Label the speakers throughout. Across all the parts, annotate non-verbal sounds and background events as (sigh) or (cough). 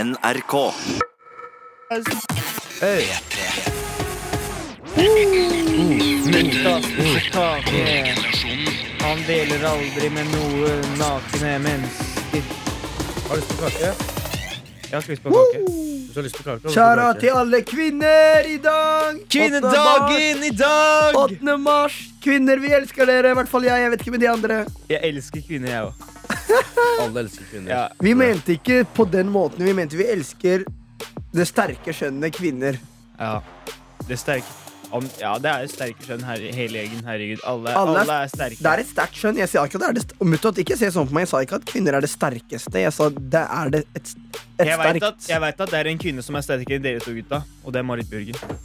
Speaker 1: NRK.
Speaker 2: Han deler aldri med noe nakne mennesker.
Speaker 3: Har du lyst på kake?
Speaker 2: Jeg har ikke lyst på kake.
Speaker 3: Hvis du har lyst på kake,
Speaker 4: Kjære til alle kvinner i dag!
Speaker 2: Kvinnedagen i dag!
Speaker 4: 8. mars! 8. mars! Kvinner, vi elsker dere. I hvert fall jeg. Jeg vet ikke med de andre.
Speaker 2: Jeg elsker kvinner,
Speaker 3: (laughs)
Speaker 2: jeg òg.
Speaker 3: Alle elsker kvinner.
Speaker 2: Ja.
Speaker 4: Vi mente ikke på den måten. Vi mente vi elsker det sterke skjønnet kvinner.
Speaker 2: ja. Det er sterk. Om, ja, det er sterke skjønn her, hele gjengen. Herregud. Alle,
Speaker 4: Alle
Speaker 2: alle,
Speaker 4: er-
Speaker 2: er sterke.
Speaker 4: Det er et sterkt skjønn. Jeg sa ikke at det er det st- Mutt, at ikke se sånn på meg. Jeg sa ikke at kvinner er det sterkeste. Jeg sa det er det et, et
Speaker 2: jeg vet, at,
Speaker 4: sterkt
Speaker 2: jeg vet at det er en kvinne som er sterkere enn dere to gutta, og det er Marit Bjørgen.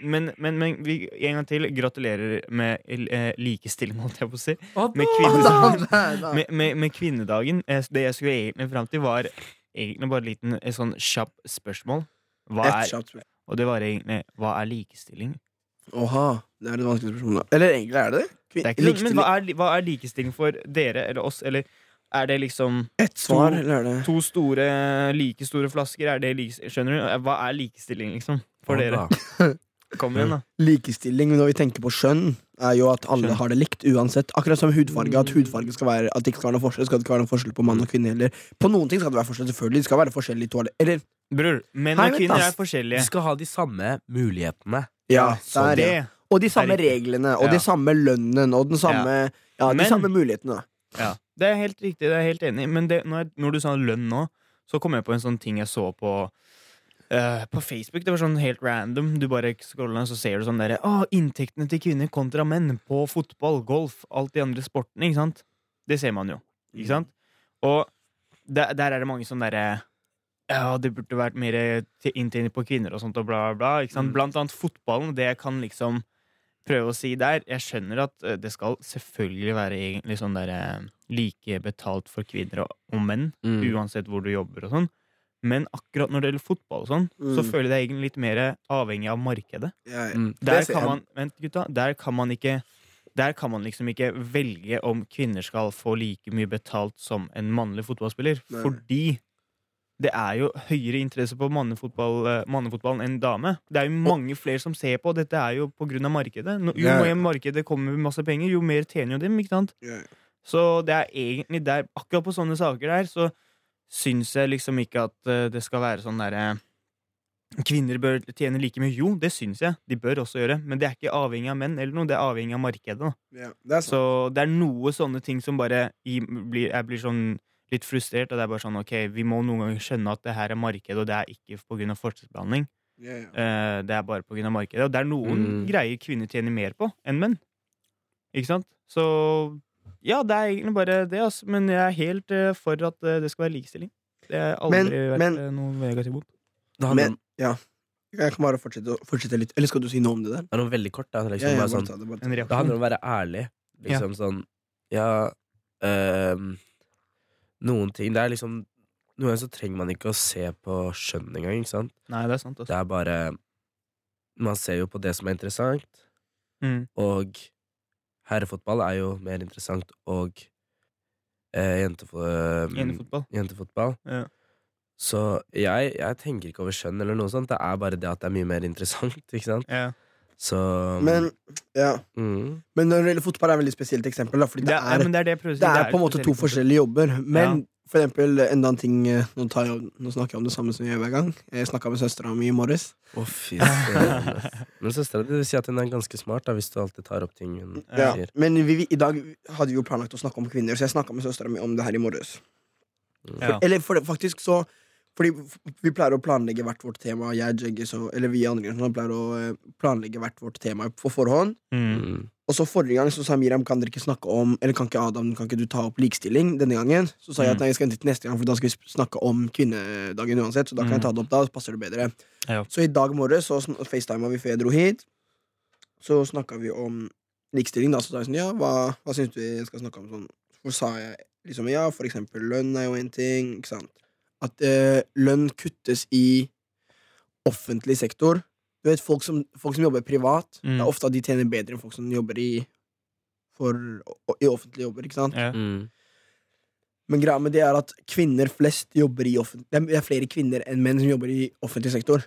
Speaker 2: Men, men, men vi, en gang til, gratulerer med eh, likestilling, holdt jeg på å si. Med, kvinnes, med, med, med kvinnedagen. Eh, Det jeg skulle egentlig fram til, var egentlig bare en liten eh, sånn kjapp spørsmål. Hva
Speaker 4: Et
Speaker 2: er,
Speaker 4: kjapt spørsmål.
Speaker 2: og det var egentlig Hva er likestilling?
Speaker 4: Oha, det er et vanskelig spørsmål. da. Eller egentlig er det det. Kvin-
Speaker 2: Det er ikke, men
Speaker 4: likestilling.
Speaker 2: hva er, li- hva er likestilling for dere eller oss, eller er det liksom
Speaker 4: Et svar, eller er det
Speaker 2: To store, like store flasker, er det likes- Skjønner du? Hva er likestilling, liksom? For dere. Kom igjen, da.
Speaker 4: Likestilling når vi tenker på skjønn, er jo at alle
Speaker 2: Skjønn. Mm.
Speaker 4: har det likt uansett. Akkurat som hudfarge. At hudfarge skal være At det ikke skal være noen forskjell Skal det ikke være noen forskjell på mann og kvinne heller. På noen ting skal det være forskjell, selvfølgelig. Det skal være forskjell i toalett Eller
Speaker 2: Bror, menn
Speaker 4: Mm. Hei,
Speaker 2: og
Speaker 4: vent,
Speaker 2: kvinner
Speaker 4: ass.
Speaker 2: er forskjellige.
Speaker 3: De skal ha de samme mulighetene.
Speaker 4: Ja,
Speaker 2: Så
Speaker 4: der, ja.
Speaker 2: det
Speaker 4: Og de samme
Speaker 2: er riktig.
Speaker 4: reglene, og
Speaker 2: Ja.
Speaker 4: de samme lønnen, og den samme Ja, de
Speaker 2: Men-
Speaker 4: samme mulighetene.
Speaker 2: Ja, det er helt riktig, det er jeg helt enig i. Men det, når, jeg, når du sa lønn nå, så kom jeg på en sånn ting jeg så på eh, på Facebook. Det var sånn helt random. Du bare scroller, så ser du sånn derre Å, inntektene til kvinner kontra menn på fotball, golf, alt de andre sportene, ikke sant? Det ser man jo, ikke sant? Og der, der er det mange sånn derre ja, det burde vært mer til- inntjening på kvinner og sånt og bla, bla, bla. Ikke sant?
Speaker 3: Mm.
Speaker 2: Blant annet fotballen. Det jeg kan liksom prøve å si der Jeg skjønner at eh, det skal selvfølgelig være egentlig sånn der eh, like betalt for kvinner og, og menn,
Speaker 3: Mm.
Speaker 2: uansett hvor du jobber og sånn. Men akkurat når det gjelder fotball og sånn, så
Speaker 4: Mm.
Speaker 2: føler jeg det er egentlig litt mer avhengig av markedet.
Speaker 4: Ja,
Speaker 3: Mm.
Speaker 2: Der
Speaker 4: ser
Speaker 2: kan
Speaker 4: jeg.
Speaker 2: man, vent, gutta, der kan man ikke der kan man liksom ikke velge om kvinner skal få like mye betalt som en mannlig fotballspiller.
Speaker 4: Nei.
Speaker 2: Fordi det er jo høyere interesse på mannefotball, eh, mannefotballen enn dame. Det er jo mange flere som ser på. Dette er jo på grunn av markedet. Nå- Jo
Speaker 4: Ja, ja.
Speaker 2: mer markedet kommer med masse penger, jo mer tjener jo dem. ikke sant?
Speaker 4: ja, ja.
Speaker 2: Så det er egentlig der Akkurat på sånne saker der så syns jeg liksom ikke at eh, det skal være sånn derre Kvinner bør tjene like mye. Jo, det syns jeg. De bør også gjøre. Men det er ikke avhengig av menn eller noe. Det er avhengig av markedet. da.
Speaker 4: Ja, det er sant.
Speaker 2: Så det er noe sånne ting som bare i, blir, Jeg blir sånn litt frustrert. Og det er bare sånn OK, vi må noen ganger skjønne at det her er markedet, og det er ikke på grunn av forskjellsbehandling.
Speaker 4: Ja, ja.
Speaker 2: Eh, det er bare på grunn av markedet. Og det er noen
Speaker 3: Mm.
Speaker 2: greier kvinner tjener mer på enn menn. Ikke sant? Så ja, det er egentlig bare det, altså. Men jeg er helt eh, for at eh, det skal være likestilling. Det har aldri
Speaker 4: Men-
Speaker 2: vært
Speaker 4: men-
Speaker 2: eh, noe negativt mot.
Speaker 3: Det handler
Speaker 4: Men
Speaker 3: om-
Speaker 4: ja. Jeg kan bare fortsette, å- fortsette litt. Eller skal du si noe om det der?
Speaker 3: det handler om veldig kort. Da. Det er
Speaker 4: Ja,
Speaker 3: Liksom,
Speaker 4: ja,
Speaker 3: bare
Speaker 4: bare
Speaker 3: sånn,
Speaker 4: ta det, bare ta
Speaker 2: Liksom En
Speaker 3: det handler
Speaker 2: reaksjon.
Speaker 3: om å være ærlig.
Speaker 2: Ja.
Speaker 3: Liksom sånn Ja, øhm, noen ting Det er liksom Noen ganger så trenger man ikke å se på skjønn engang, ikke sant?
Speaker 2: Nei, det er sant,
Speaker 3: Det
Speaker 2: altså.
Speaker 3: er bare Man ser jo på det som er interessant,
Speaker 2: Mm.
Speaker 3: og herrefotball er jo mer interessant, og eh, jentefo øhm,
Speaker 2: Enefotball.
Speaker 3: jentefotball.
Speaker 2: Ja.
Speaker 3: Så jeg, jeg tenker ikke over skjønn eller noe sånt. Det er bare det at det er mye mer interessant, (laughs) ikke sant?
Speaker 2: Ja.
Speaker 3: Så um,
Speaker 4: det. Men, ja.
Speaker 3: mm,
Speaker 4: Men når det gjelder fotball, er det et veldig spesielt eksempel. Da, fordi
Speaker 2: Det
Speaker 4: det,
Speaker 2: er,
Speaker 4: er,
Speaker 2: ja, men det er det jeg prøver å si.
Speaker 4: det er på en måte to forskjellige jobber. Men
Speaker 2: Ja.
Speaker 4: for eksempel, enda en ting eh, nå, tar jeg, nå snakker jeg om det samme som jeg gjør hver gang. Jeg snakka med søstera mi i morges.
Speaker 3: Å, fy søren. Men søstera di sier at hun er ganske smart, da, hvis du alltid tar opp ting hun
Speaker 4: Ja.
Speaker 3: sier.
Speaker 4: Men vi, vi, i dag hadde vi jo planlagt å snakke om kvinner, så jeg snakka med søstera mi om det her i morges.
Speaker 3: Mm.
Speaker 2: Ja.
Speaker 4: Eller for det, faktisk så Fordi f- vi pleier å planlegge hvert vårt tema. Jeg, Jeggis og Eller vi andre sånn, pleier å eh, planlegge hvert vårt tema på forhånd.
Speaker 2: Mm.
Speaker 3: Mm.
Speaker 4: Og så forrige gang så sa Miriam kan dere ikke snakke om Eller kan ikke Adam, kan ikke du ta opp likestilling denne gangen? Så sa jeg
Speaker 2: Mm.
Speaker 4: at nei, jeg skal vente til neste gang, for da skal vi sp- snakke om kvinnedagen uansett. Så da kan jeg ta det opp da, så passer det bedre.
Speaker 2: Mm. Ja.
Speaker 4: Så i dag morges så sn- facetima vi før jeg dro hit. Så snakka vi om likestilling, da. Så sa jeg sånn, ja, hva, hva syns du vi skal snakke om sånn? Så sa jeg liksom ja, for eksempel lønn er jo en ting, ikke sant. At eh, lønn kuttes i offentlig sektor. Du vet, folk som, folk som jobber privat,
Speaker 2: Mm.
Speaker 4: det er ofte at de tjener bedre enn folk som jobber i for, i offentlige jobber. ikke sant?
Speaker 2: Ja.
Speaker 3: Mm.
Speaker 4: Men greia med det er at kvinner flest jobber i offentlig Det er- det er flere kvinner enn menn som jobber i offentlig sektor.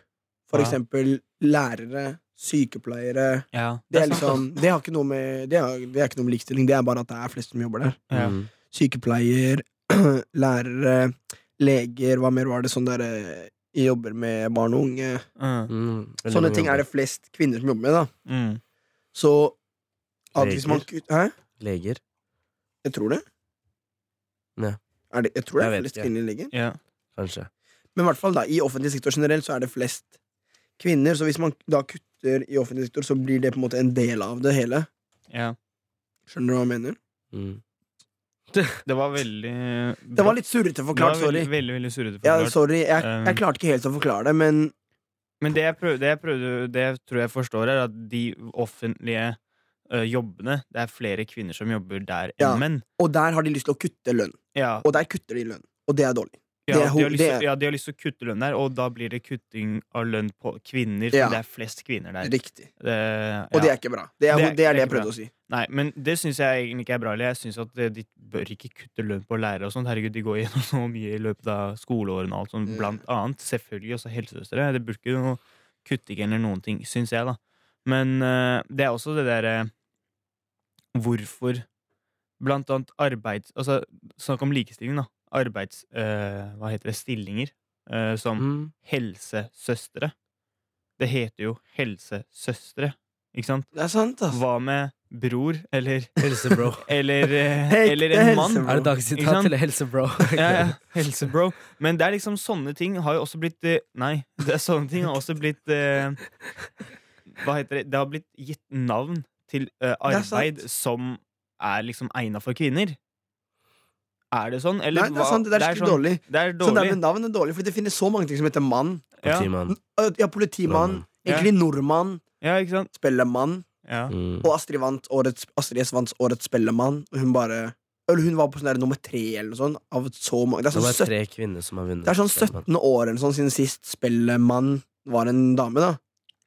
Speaker 4: For
Speaker 2: Ja.
Speaker 4: eksempel lærere, sykepleiere
Speaker 2: Ja.
Speaker 4: Det, er liksom,
Speaker 2: sant,
Speaker 4: det har ikke noe med Det er, det er ikke noe med likestilling, det er bare at det er flest som jobber der.
Speaker 2: altså. Ja.
Speaker 3: Mm.
Speaker 4: Sykepleier, (clears throat) lærere, leger, hva mer var det sånn derre Jobber med barn og unge.
Speaker 2: ass. Mm.
Speaker 3: Mm. Veldig
Speaker 4: Sånne
Speaker 3: mange
Speaker 4: ting er
Speaker 3: jobber.
Speaker 4: det flest kvinner som jobber med. da
Speaker 2: Mm.
Speaker 4: Så at hvis man
Speaker 3: Leger?
Speaker 4: kut- Hæ?
Speaker 3: Leger.
Speaker 4: Jeg tror det.
Speaker 3: Nei.
Speaker 4: Er det jeg tror det er
Speaker 3: Jeg vet
Speaker 4: flest
Speaker 3: ikke.
Speaker 4: kvinner i leger.
Speaker 2: Ja.
Speaker 3: Kanskje.
Speaker 4: Men i hvert fall da, i offentlig sektor generelt så er det flest kvinner. Så hvis man da kutter i offentlig sektor, så blir det på en måte en del av det hele.
Speaker 2: ja.
Speaker 4: Skjønner du hva jeg mener?
Speaker 3: Mm.
Speaker 2: Det var veldig
Speaker 4: Det var litt surrete forklart,
Speaker 2: Det var
Speaker 4: sorry.
Speaker 2: Veldig, veldig, veldig surrete
Speaker 4: Ja,
Speaker 2: forklart.
Speaker 4: sorry, jeg, jeg
Speaker 2: Um,
Speaker 4: klarte ikke helt å forklare det, men
Speaker 2: Men det jeg, prøv, det jeg prøvde Det jeg tror jeg forstår, er at de offentlige ø, jobbene Det er flere kvinner som jobber der enn
Speaker 4: Ja.
Speaker 2: menn.
Speaker 4: Og der har de lyst til å kutte lønn.
Speaker 2: Ja.
Speaker 4: Og der kutter de lønn. Og det er dårlig.
Speaker 2: Ja,
Speaker 4: det er
Speaker 2: de
Speaker 4: ho-
Speaker 2: har lyst,
Speaker 4: det
Speaker 2: til-
Speaker 4: er-
Speaker 2: ja, de har lyst til å kutte lønn der, og da blir det kutting av lønn på kvinner.
Speaker 4: Ja.
Speaker 2: For det er flest kvinner der.
Speaker 4: Riktig.
Speaker 2: Det,
Speaker 4: Og
Speaker 2: ja.
Speaker 4: det er ikke bra. Det er det, er,
Speaker 2: Det er-
Speaker 4: det,
Speaker 2: det er
Speaker 4: jeg
Speaker 2: ikke bra.
Speaker 4: prøvde å si.
Speaker 2: Nei, men det syns jeg egentlig ikke er bra. eller Jeg synes at eh, De bør ikke kutte lønn på lærere og sånt. Herregud, de går (laughs) gjennom så mye i løpet av skoleårene og alt sånt,
Speaker 4: Mm.
Speaker 2: blant annet. Selvfølgelig også helsesøstre. Det burde ikke noe kutting eller noen ting, syns jeg, da. Men eh, det er også det derre Hvorfor Blant annet arbeids... Altså, snakk om likestilling, da. Arbeids... eh, hva heter det? Stillinger. eh, som
Speaker 3: Mm.
Speaker 2: helsesøstre. Det heter jo helsesøstre, ikke sant?
Speaker 4: Det er sant, ass.
Speaker 2: Hva med bror, eller (laughs)
Speaker 3: Helsebro.
Speaker 2: Eller,
Speaker 4: (laughs)
Speaker 2: eh,
Speaker 4: Ekte
Speaker 2: eller en mann?
Speaker 4: helsebro.
Speaker 3: er det
Speaker 2: Ikke sant?
Speaker 3: dagsitat eller helsebro?
Speaker 2: (laughs) Ja,
Speaker 4: (laughs)
Speaker 2: ja,
Speaker 3: (laughs)
Speaker 2: helsebro. Men det er liksom sånne ting har jo også blitt eh, Nei, (laughs) det er sånne ting har også blitt eh, Hva heter det? Det har blitt gitt navn til eh,
Speaker 4: er sant.
Speaker 2: arbeid som er liksom egna for kvinner. Er det sånn? Eller
Speaker 4: Nei, det
Speaker 2: hva-
Speaker 4: er sant. Det er skikkelig
Speaker 2: sånn-
Speaker 4: dårlig.
Speaker 2: Det er
Speaker 4: Så det
Speaker 2: dårlig.
Speaker 4: med navn er dårlig, for det finnes så mange ting som heter mann.
Speaker 2: Ja,
Speaker 3: Timan.
Speaker 4: Øh, Ja, politimann.
Speaker 3: Nordmann.
Speaker 4: Egentlig nordmann.
Speaker 2: ja, ikke sant?
Speaker 4: Spellemann.
Speaker 2: Ja.
Speaker 3: Mm.
Speaker 4: Og Astrid, vant årets, Astrid S vant årets Spellemann. Og hun bare Eller hun var på sånn der nummer tre eller noe sånt. Av så mange. Det er
Speaker 3: Det var
Speaker 4: sånn, søt,
Speaker 3: tre kvinner som har vunnet.
Speaker 4: det er sånn 17 år eller noe sånt siden sist Spellemann var en dame, da.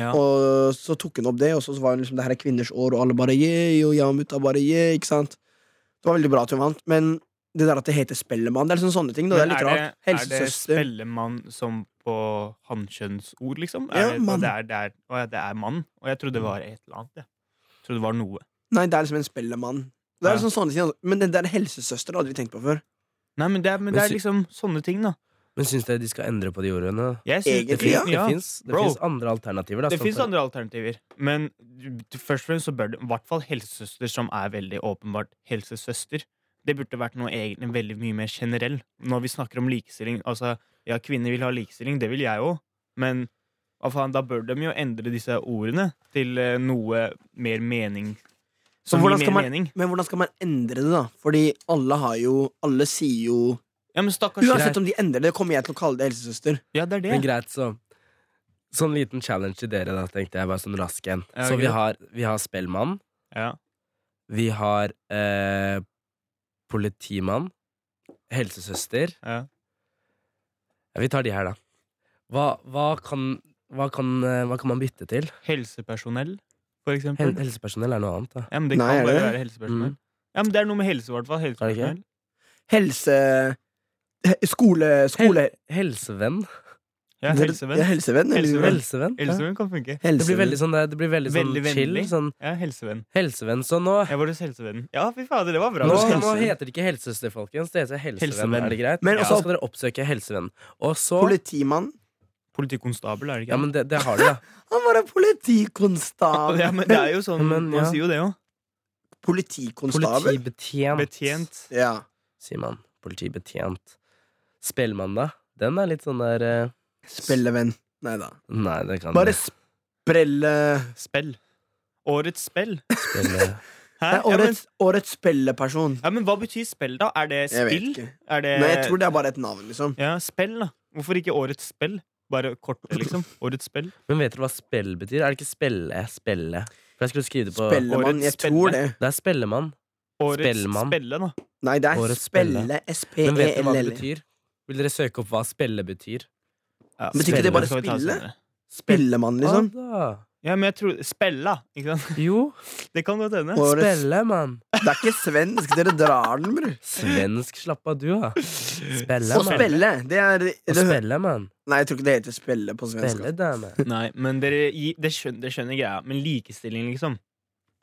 Speaker 2: Ja.
Speaker 4: Og så tok hun opp det, og så var hun liksom det her er kvinners år, og alle bare yeah, og jeg og mutta bare yeah, ikke sant. Det var veldig bra at hun vant, men det der at det heter Spellemann, det er liksom sånne ting. Da. Det er
Speaker 2: Men
Speaker 4: litt rart.
Speaker 2: Er det
Speaker 4: Helsesøster.
Speaker 2: spellemann som på hannkjønnsord, liksom?
Speaker 4: Ja,
Speaker 2: Er det,
Speaker 4: mann. Mm.
Speaker 2: og det er, det, er, å, ja, det er mann? Og jeg trodde det var et eller annet. Jeg. jeg trodde det var noe.
Speaker 4: Nei, det er liksom en Spellemann. Det er
Speaker 2: Ja.
Speaker 4: liksom sånne ting, men det der helsesøster det hadde vi tenkt på før.
Speaker 2: Nei, men det er, men
Speaker 3: Men
Speaker 2: det er
Speaker 3: sy-
Speaker 2: liksom sånne ting, da.
Speaker 3: Men syns dere de skal endre på de ordene?
Speaker 2: Jeg synes-
Speaker 4: Egentlig,
Speaker 2: det fin-
Speaker 4: ja.
Speaker 3: Det fins
Speaker 2: Bro.
Speaker 3: andre alternativer. Da,
Speaker 2: Det
Speaker 3: som
Speaker 2: fins
Speaker 3: for-
Speaker 2: andre alternativer, men du- du- først og fremst så bør det i hvert fall helsesøster, som er veldig åpenbart helsesøster. Det burde vært noe egentlig veldig mye mer generell. Når vi snakker om likestilling Altså, ja, kvinner vil ha likestilling, det vil jeg òg, men hva faen, da bør de jo endre disse ordene til eh, noe mer mening. Som gir
Speaker 4: hvordan
Speaker 2: mer
Speaker 4: skal man-
Speaker 2: mening.
Speaker 4: Men hvordan skal man endre det, da? Fordi alle har jo Alle sier jo
Speaker 2: Ja, men stakkars
Speaker 4: Uansett om de endrer det, kommer jeg til å kalle det helsesøster.
Speaker 2: Ja, det er
Speaker 3: Men
Speaker 2: det.
Speaker 3: greit, så. Sånn liten challenge til dere, da, tenkte jeg. Bare sånn rask en.
Speaker 2: Ja,
Speaker 3: så vi
Speaker 2: greit.
Speaker 3: har, vi har Spellmann.
Speaker 2: Ja.
Speaker 3: Vi har eh, politimann. Helsesøster.
Speaker 2: Ja.
Speaker 3: Ja, vi tar de her, da. Hva, hva, kan, hva, kan, eh, hva kan man bytte til?
Speaker 2: Helsepersonell, for
Speaker 3: Hel
Speaker 2: eksempel.
Speaker 3: helsepersonell er noe annet, da. Mm.
Speaker 2: Ja, men det
Speaker 4: Nei,
Speaker 2: kan
Speaker 4: er
Speaker 2: bare
Speaker 4: det?
Speaker 2: være helsepersonell. Ja, men det er noe med helse, i hvert fall. Helsepersonell.
Speaker 4: Helse... he- Skole... skole
Speaker 3: Hel helsevenn.
Speaker 2: Ja,
Speaker 4: Ja,
Speaker 2: helsevenn.
Speaker 4: helsevenn, eller-
Speaker 2: Helsevenn.
Speaker 3: Helsevenn. ja.
Speaker 2: Helsevenn kan funke.
Speaker 3: Det blir
Speaker 4: Helsevenn.
Speaker 3: veldig sånn, det blir veldig sånn
Speaker 2: Veldig
Speaker 3: chill.
Speaker 2: vennlig.
Speaker 3: Sånn
Speaker 2: Ja, helsevenn.
Speaker 3: helsevenn. Så nå,
Speaker 2: Jeg var hos helsevennen. Ja, fy fader, det var bra.
Speaker 3: nå,
Speaker 4: skal-
Speaker 3: nå heter det ikke helsesøster, folkens. Det heter helsevenn.
Speaker 2: Helsevenn.
Speaker 3: Er det greit?
Speaker 4: Men altså- også-
Speaker 3: ja. Så skal dere oppsøke helsevenn. Og
Speaker 2: sånn.
Speaker 3: så
Speaker 4: Politimann.
Speaker 2: Politikonstabel, er det
Speaker 3: Ja,
Speaker 2: ikke?
Speaker 3: men det, det har de, da.
Speaker 4: Han var en
Speaker 2: (laughs) Ja,
Speaker 4: politikonstabel.
Speaker 2: men, det er jo sånn,
Speaker 3: Men,
Speaker 2: man
Speaker 3: ja.
Speaker 2: sier jo det òg.
Speaker 4: Politikonstabel?
Speaker 3: Politibetjent.
Speaker 2: Betjent.
Speaker 4: Ja.
Speaker 3: sier man. Politibetjent. Spellemann, da? Den er litt sånn der eh,
Speaker 4: Spellevenn. Nei da.
Speaker 3: Nei, det kan
Speaker 4: Bare
Speaker 3: jeg
Speaker 4: sprelle...
Speaker 2: Spell. Årets spell.
Speaker 3: spille
Speaker 2: Hæ?
Speaker 4: Nei,
Speaker 2: Ja, men,
Speaker 4: årets, årets spelleperson.
Speaker 2: ja, men hva betyr spell, da? Er det
Speaker 4: Jeg vet
Speaker 2: spill?
Speaker 4: ikke.
Speaker 2: Er det
Speaker 4: Nei, jeg tror det er bare et navn, liksom.
Speaker 2: Ja, spell, da. Hvorfor ikke årets spell? Bare kort, liksom. Årets spell.
Speaker 3: Men vet dere hva spell betyr? Er det ikke spelle? Spelle. For jeg skulle skrive det på
Speaker 4: Spellemann. Jeg
Speaker 2: Årets
Speaker 4: tror
Speaker 2: spelle.
Speaker 4: det.
Speaker 3: Det er spellemann.
Speaker 2: Årets
Speaker 3: Spellemann.
Speaker 2: spelle, da.
Speaker 4: Nei, det er
Speaker 3: Årets spelle.
Speaker 4: spelle. E
Speaker 3: Men vet dere hva det
Speaker 4: S-P-E-L-L.
Speaker 3: betyr? Vil dere søke opp hva spelle betyr?
Speaker 2: Ja,
Speaker 4: Men betyr ikke det
Speaker 2: spelle
Speaker 4: bare
Speaker 2: skal vi ta
Speaker 4: spille?
Speaker 2: senere.
Speaker 4: Spellemann, liksom.
Speaker 3: Ah, da.
Speaker 2: Ja, men jeg tror Spella, ikke sant? (laughs)
Speaker 3: Jo,
Speaker 2: Det kan godt hende.
Speaker 4: Årets-
Speaker 3: spille, mann.
Speaker 4: Det er ikke svensk, dere drar den, bror.
Speaker 3: Svensk, slapp av du, da. Spille,
Speaker 4: Å
Speaker 3: mann.
Speaker 4: spille, det er det,
Speaker 3: Å spille, mann.
Speaker 4: Nei, jeg tror ikke det heter spille på svensk.
Speaker 3: Spille,
Speaker 4: ass.
Speaker 3: dame.
Speaker 2: Nei, men dere, i- det skjønner, det skjønner greia. Men likestilling, liksom.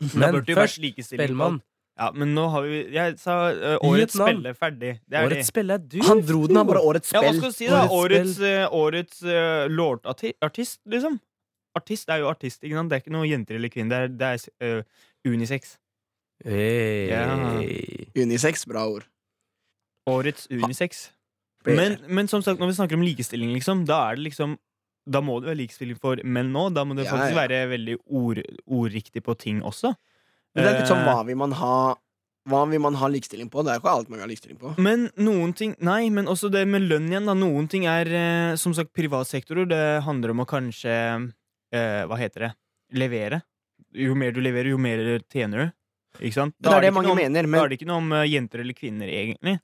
Speaker 2: Da
Speaker 3: Men
Speaker 2: burde (laughs) det jo vært
Speaker 3: først,
Speaker 2: likestilling.
Speaker 3: spellemann.
Speaker 2: Ja, men nå har vi Jeg sa eh, årets
Speaker 3: Vietnam.
Speaker 2: spille ferdig. Det er
Speaker 3: Årets
Speaker 2: det.
Speaker 3: spille er du.
Speaker 4: Han dro den, han bare årets
Speaker 2: Ja, hva
Speaker 4: spill.
Speaker 2: skal du si, da? Årets,
Speaker 3: Årets
Speaker 2: uh, årets eh, lordartist, liksom. Artist er jo artist, ikke sant? Det er ikke noe jenter eller kvinner. Det er, det er eh, unisex.
Speaker 3: Hey.
Speaker 4: Unisex, bra ord.
Speaker 2: Årets unisex. Men, men som sagt, når vi snakker om likestilling, liksom, da er det liksom da må det være likestilling for menn nå. Da må det
Speaker 4: Ja,
Speaker 2: faktisk
Speaker 4: ja.
Speaker 2: være veldig ord, ordriktig på ting også.
Speaker 4: Men det er litt sånn,
Speaker 2: Eh,
Speaker 4: hva vil man ha Hva vil man ha likestilling på? Det er ikke alt man vil ha likestilling på.
Speaker 2: Men noen ting Nei, men også det med lønn igjen, da. Noen ting er eh, som sagt privatsektorer. Det handler om å kanskje eh, Hva heter det? Levere. Jo mer du leverer, jo mer tjener du. Ikke sant?
Speaker 4: Det er det
Speaker 2: ikke
Speaker 4: mange
Speaker 2: noe om,
Speaker 4: mener,
Speaker 2: Da
Speaker 4: men,
Speaker 2: er det ikke noe om eh, jenter eller kvinner, egentlig.
Speaker 4: men,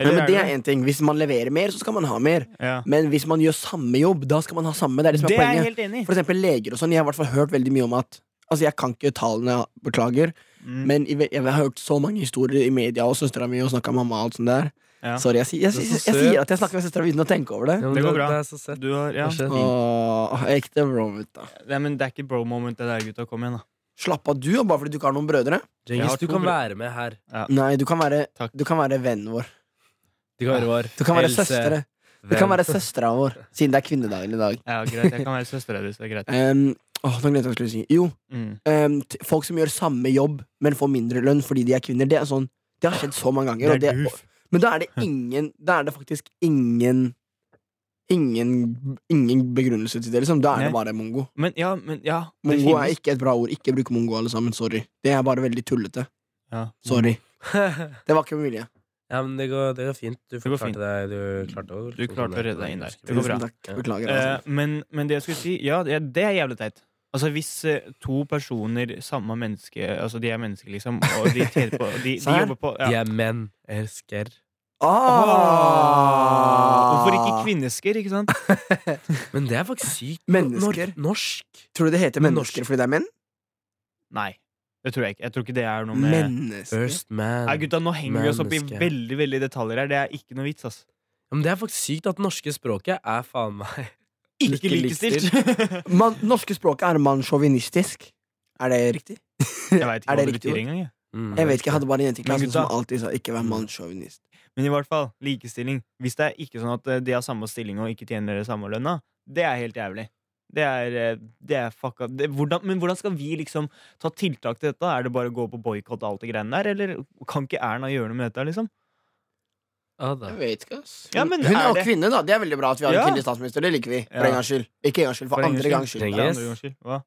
Speaker 2: Eller
Speaker 4: men det er én ting. Hvis man leverer mer, så skal man ha mer.
Speaker 2: det? Ja.
Speaker 4: Men hvis man gjør samme jobb, da skal man ha samme. Det er det som
Speaker 2: Det
Speaker 4: er
Speaker 2: er jeg
Speaker 4: poenget.
Speaker 2: helt enig i.
Speaker 4: For eksempel leger og sånn. Jeg har i hvert fall hørt veldig mye om at Altså, jeg kan ikke tallene, beklager,
Speaker 2: Mm.
Speaker 4: men i ve- jeg har hørt så mange historier i media, og søstera mi og snakka med mamma og alt sånt der.
Speaker 2: Ja.
Speaker 4: Sorry, jeg, sier- jeg,
Speaker 3: Du er
Speaker 4: sier-
Speaker 3: så
Speaker 4: jeg,
Speaker 3: søt.
Speaker 4: sier at jeg snakker med søstera uten å tenke over det.
Speaker 3: Ja, men
Speaker 2: Det går bra.
Speaker 3: Det er så søtt.
Speaker 2: Du har, ja.
Speaker 3: Det er så-
Speaker 4: Åh, ekte bro, vet du.
Speaker 2: Nei, men det er ikke bro moment, det der, gutta. Kom igjen, da.
Speaker 4: Slapp av, du, bare fordi du ikke har noen brødre.
Speaker 2: Jeg har
Speaker 3: Djengis, du
Speaker 2: to
Speaker 3: kan
Speaker 2: bro-
Speaker 3: være med her.
Speaker 4: Nei, du kan være,
Speaker 2: Takk.
Speaker 4: du kan være vennen vår.
Speaker 3: Du kan være vår.
Speaker 4: Du kan være
Speaker 3: Else,
Speaker 4: søstere. Du
Speaker 3: venn.
Speaker 4: kan være søstera vår, siden det er kvinnedagen i dag.
Speaker 2: Ja, greit, jeg kan være søstera di, så det er greit.
Speaker 4: Um, åh, nå glemte jeg hva jeg skulle si. Jo,
Speaker 2: Mm.
Speaker 4: um, t folk som gjør samme jobb, men får mindre lønn fordi de er kvinner, det er sånn Det har skjedd så mange ganger. og det,
Speaker 2: goof.
Speaker 4: men da er det ingen Da er det faktisk ingen Ingen, ingen begrunnelse til det, liksom. Da er det
Speaker 2: Nei.
Speaker 4: bare mongo.
Speaker 2: Men ja, men ja. det
Speaker 4: Mongo er
Speaker 2: finnes.
Speaker 4: ikke et bra ord. Ikke bruk mongo, alle sammen. Sorry. Det er bare veldig tullete.
Speaker 2: ja.
Speaker 4: Sorry.
Speaker 2: Mm.
Speaker 4: Det var ikke med vilje.
Speaker 3: (laughs) Ja, men det går, det går fint. Du
Speaker 2: går
Speaker 3: forklarte
Speaker 2: fint.
Speaker 3: deg. Du klarte å, liksom
Speaker 2: Du klarte å redde deg inn der. Det går bra.
Speaker 4: Tusen takk. Beklager.
Speaker 2: Eh,
Speaker 4: Altså.
Speaker 2: men, men det jeg skulle si, ja, det, det er jævlig teit. Altså Hvis eh, to personer, samme menneske Altså De er mennesker, liksom, og de tjener på De, de
Speaker 4: Serr?
Speaker 2: jobber på
Speaker 3: De
Speaker 2: ja.
Speaker 3: er menn. Elsker.
Speaker 4: Ah!
Speaker 2: Hvorfor ikke kvinnesker, ikke sant?
Speaker 3: Men det er faktisk sykt.
Speaker 4: Mennesker.
Speaker 3: Nor- norsk.
Speaker 4: Tror du det heter
Speaker 3: Men
Speaker 4: mennesker fordi det er menn?
Speaker 2: Nei, det tror jeg ikke. Jeg tror ikke det er noe med
Speaker 4: Mennesker.
Speaker 3: First man.
Speaker 2: Nei, gutta, Nå henger vi oss opp i
Speaker 3: Menneske.
Speaker 2: veldig veldig detaljer her. Det er ikke noe vits. ass
Speaker 3: Ja, men det er faktisk sykt at det norske språket er faen meg
Speaker 2: Ikke
Speaker 3: Ikke
Speaker 2: likestilt! (laughs)
Speaker 4: Man, norske språket er mannssjåvinistisk. Er det riktig?
Speaker 2: jeg veit ikke
Speaker 4: Er det
Speaker 2: hva det
Speaker 4: riktig ord?
Speaker 2: betyr engang. jeg.
Speaker 3: Mm,
Speaker 4: Jeg vet ikke, jeg hadde bare en jente i
Speaker 2: Men
Speaker 4: klassen
Speaker 2: gutta-
Speaker 4: som alltid sa 'ikke vær mannssjåvinist'.
Speaker 2: Men i hvert fall, likestilling. Hvis det er ikke sånn at eh, de har samme stilling og ikke tjener det samme lønna, det er helt jævlig. Det er, eh, det er fucka det, hvordan, Men hvordan skal vi liksom ta tiltak til dette? Er det bare å gå på boikott og alt det greiene der, eller kan ikke Erna gjøre noe med dette, liksom?
Speaker 3: Ja, da.
Speaker 4: vet ikke, ass.
Speaker 2: Ja, men
Speaker 4: Hun er
Speaker 2: er
Speaker 4: jo
Speaker 2: det-
Speaker 4: kvinne, da. Det er veldig bra at vi har en
Speaker 2: Ja.
Speaker 4: kvinnelig statsminister. Det liker vi. For
Speaker 2: Ja.
Speaker 4: en gangs skyld. Ikke en gangs skyld, for,
Speaker 2: For en
Speaker 4: andre gangs
Speaker 2: gangs
Speaker 4: skyld.
Speaker 3: skyld.
Speaker 4: Ja.
Speaker 3: Yes.
Speaker 2: Andre gangs skyld. Hva?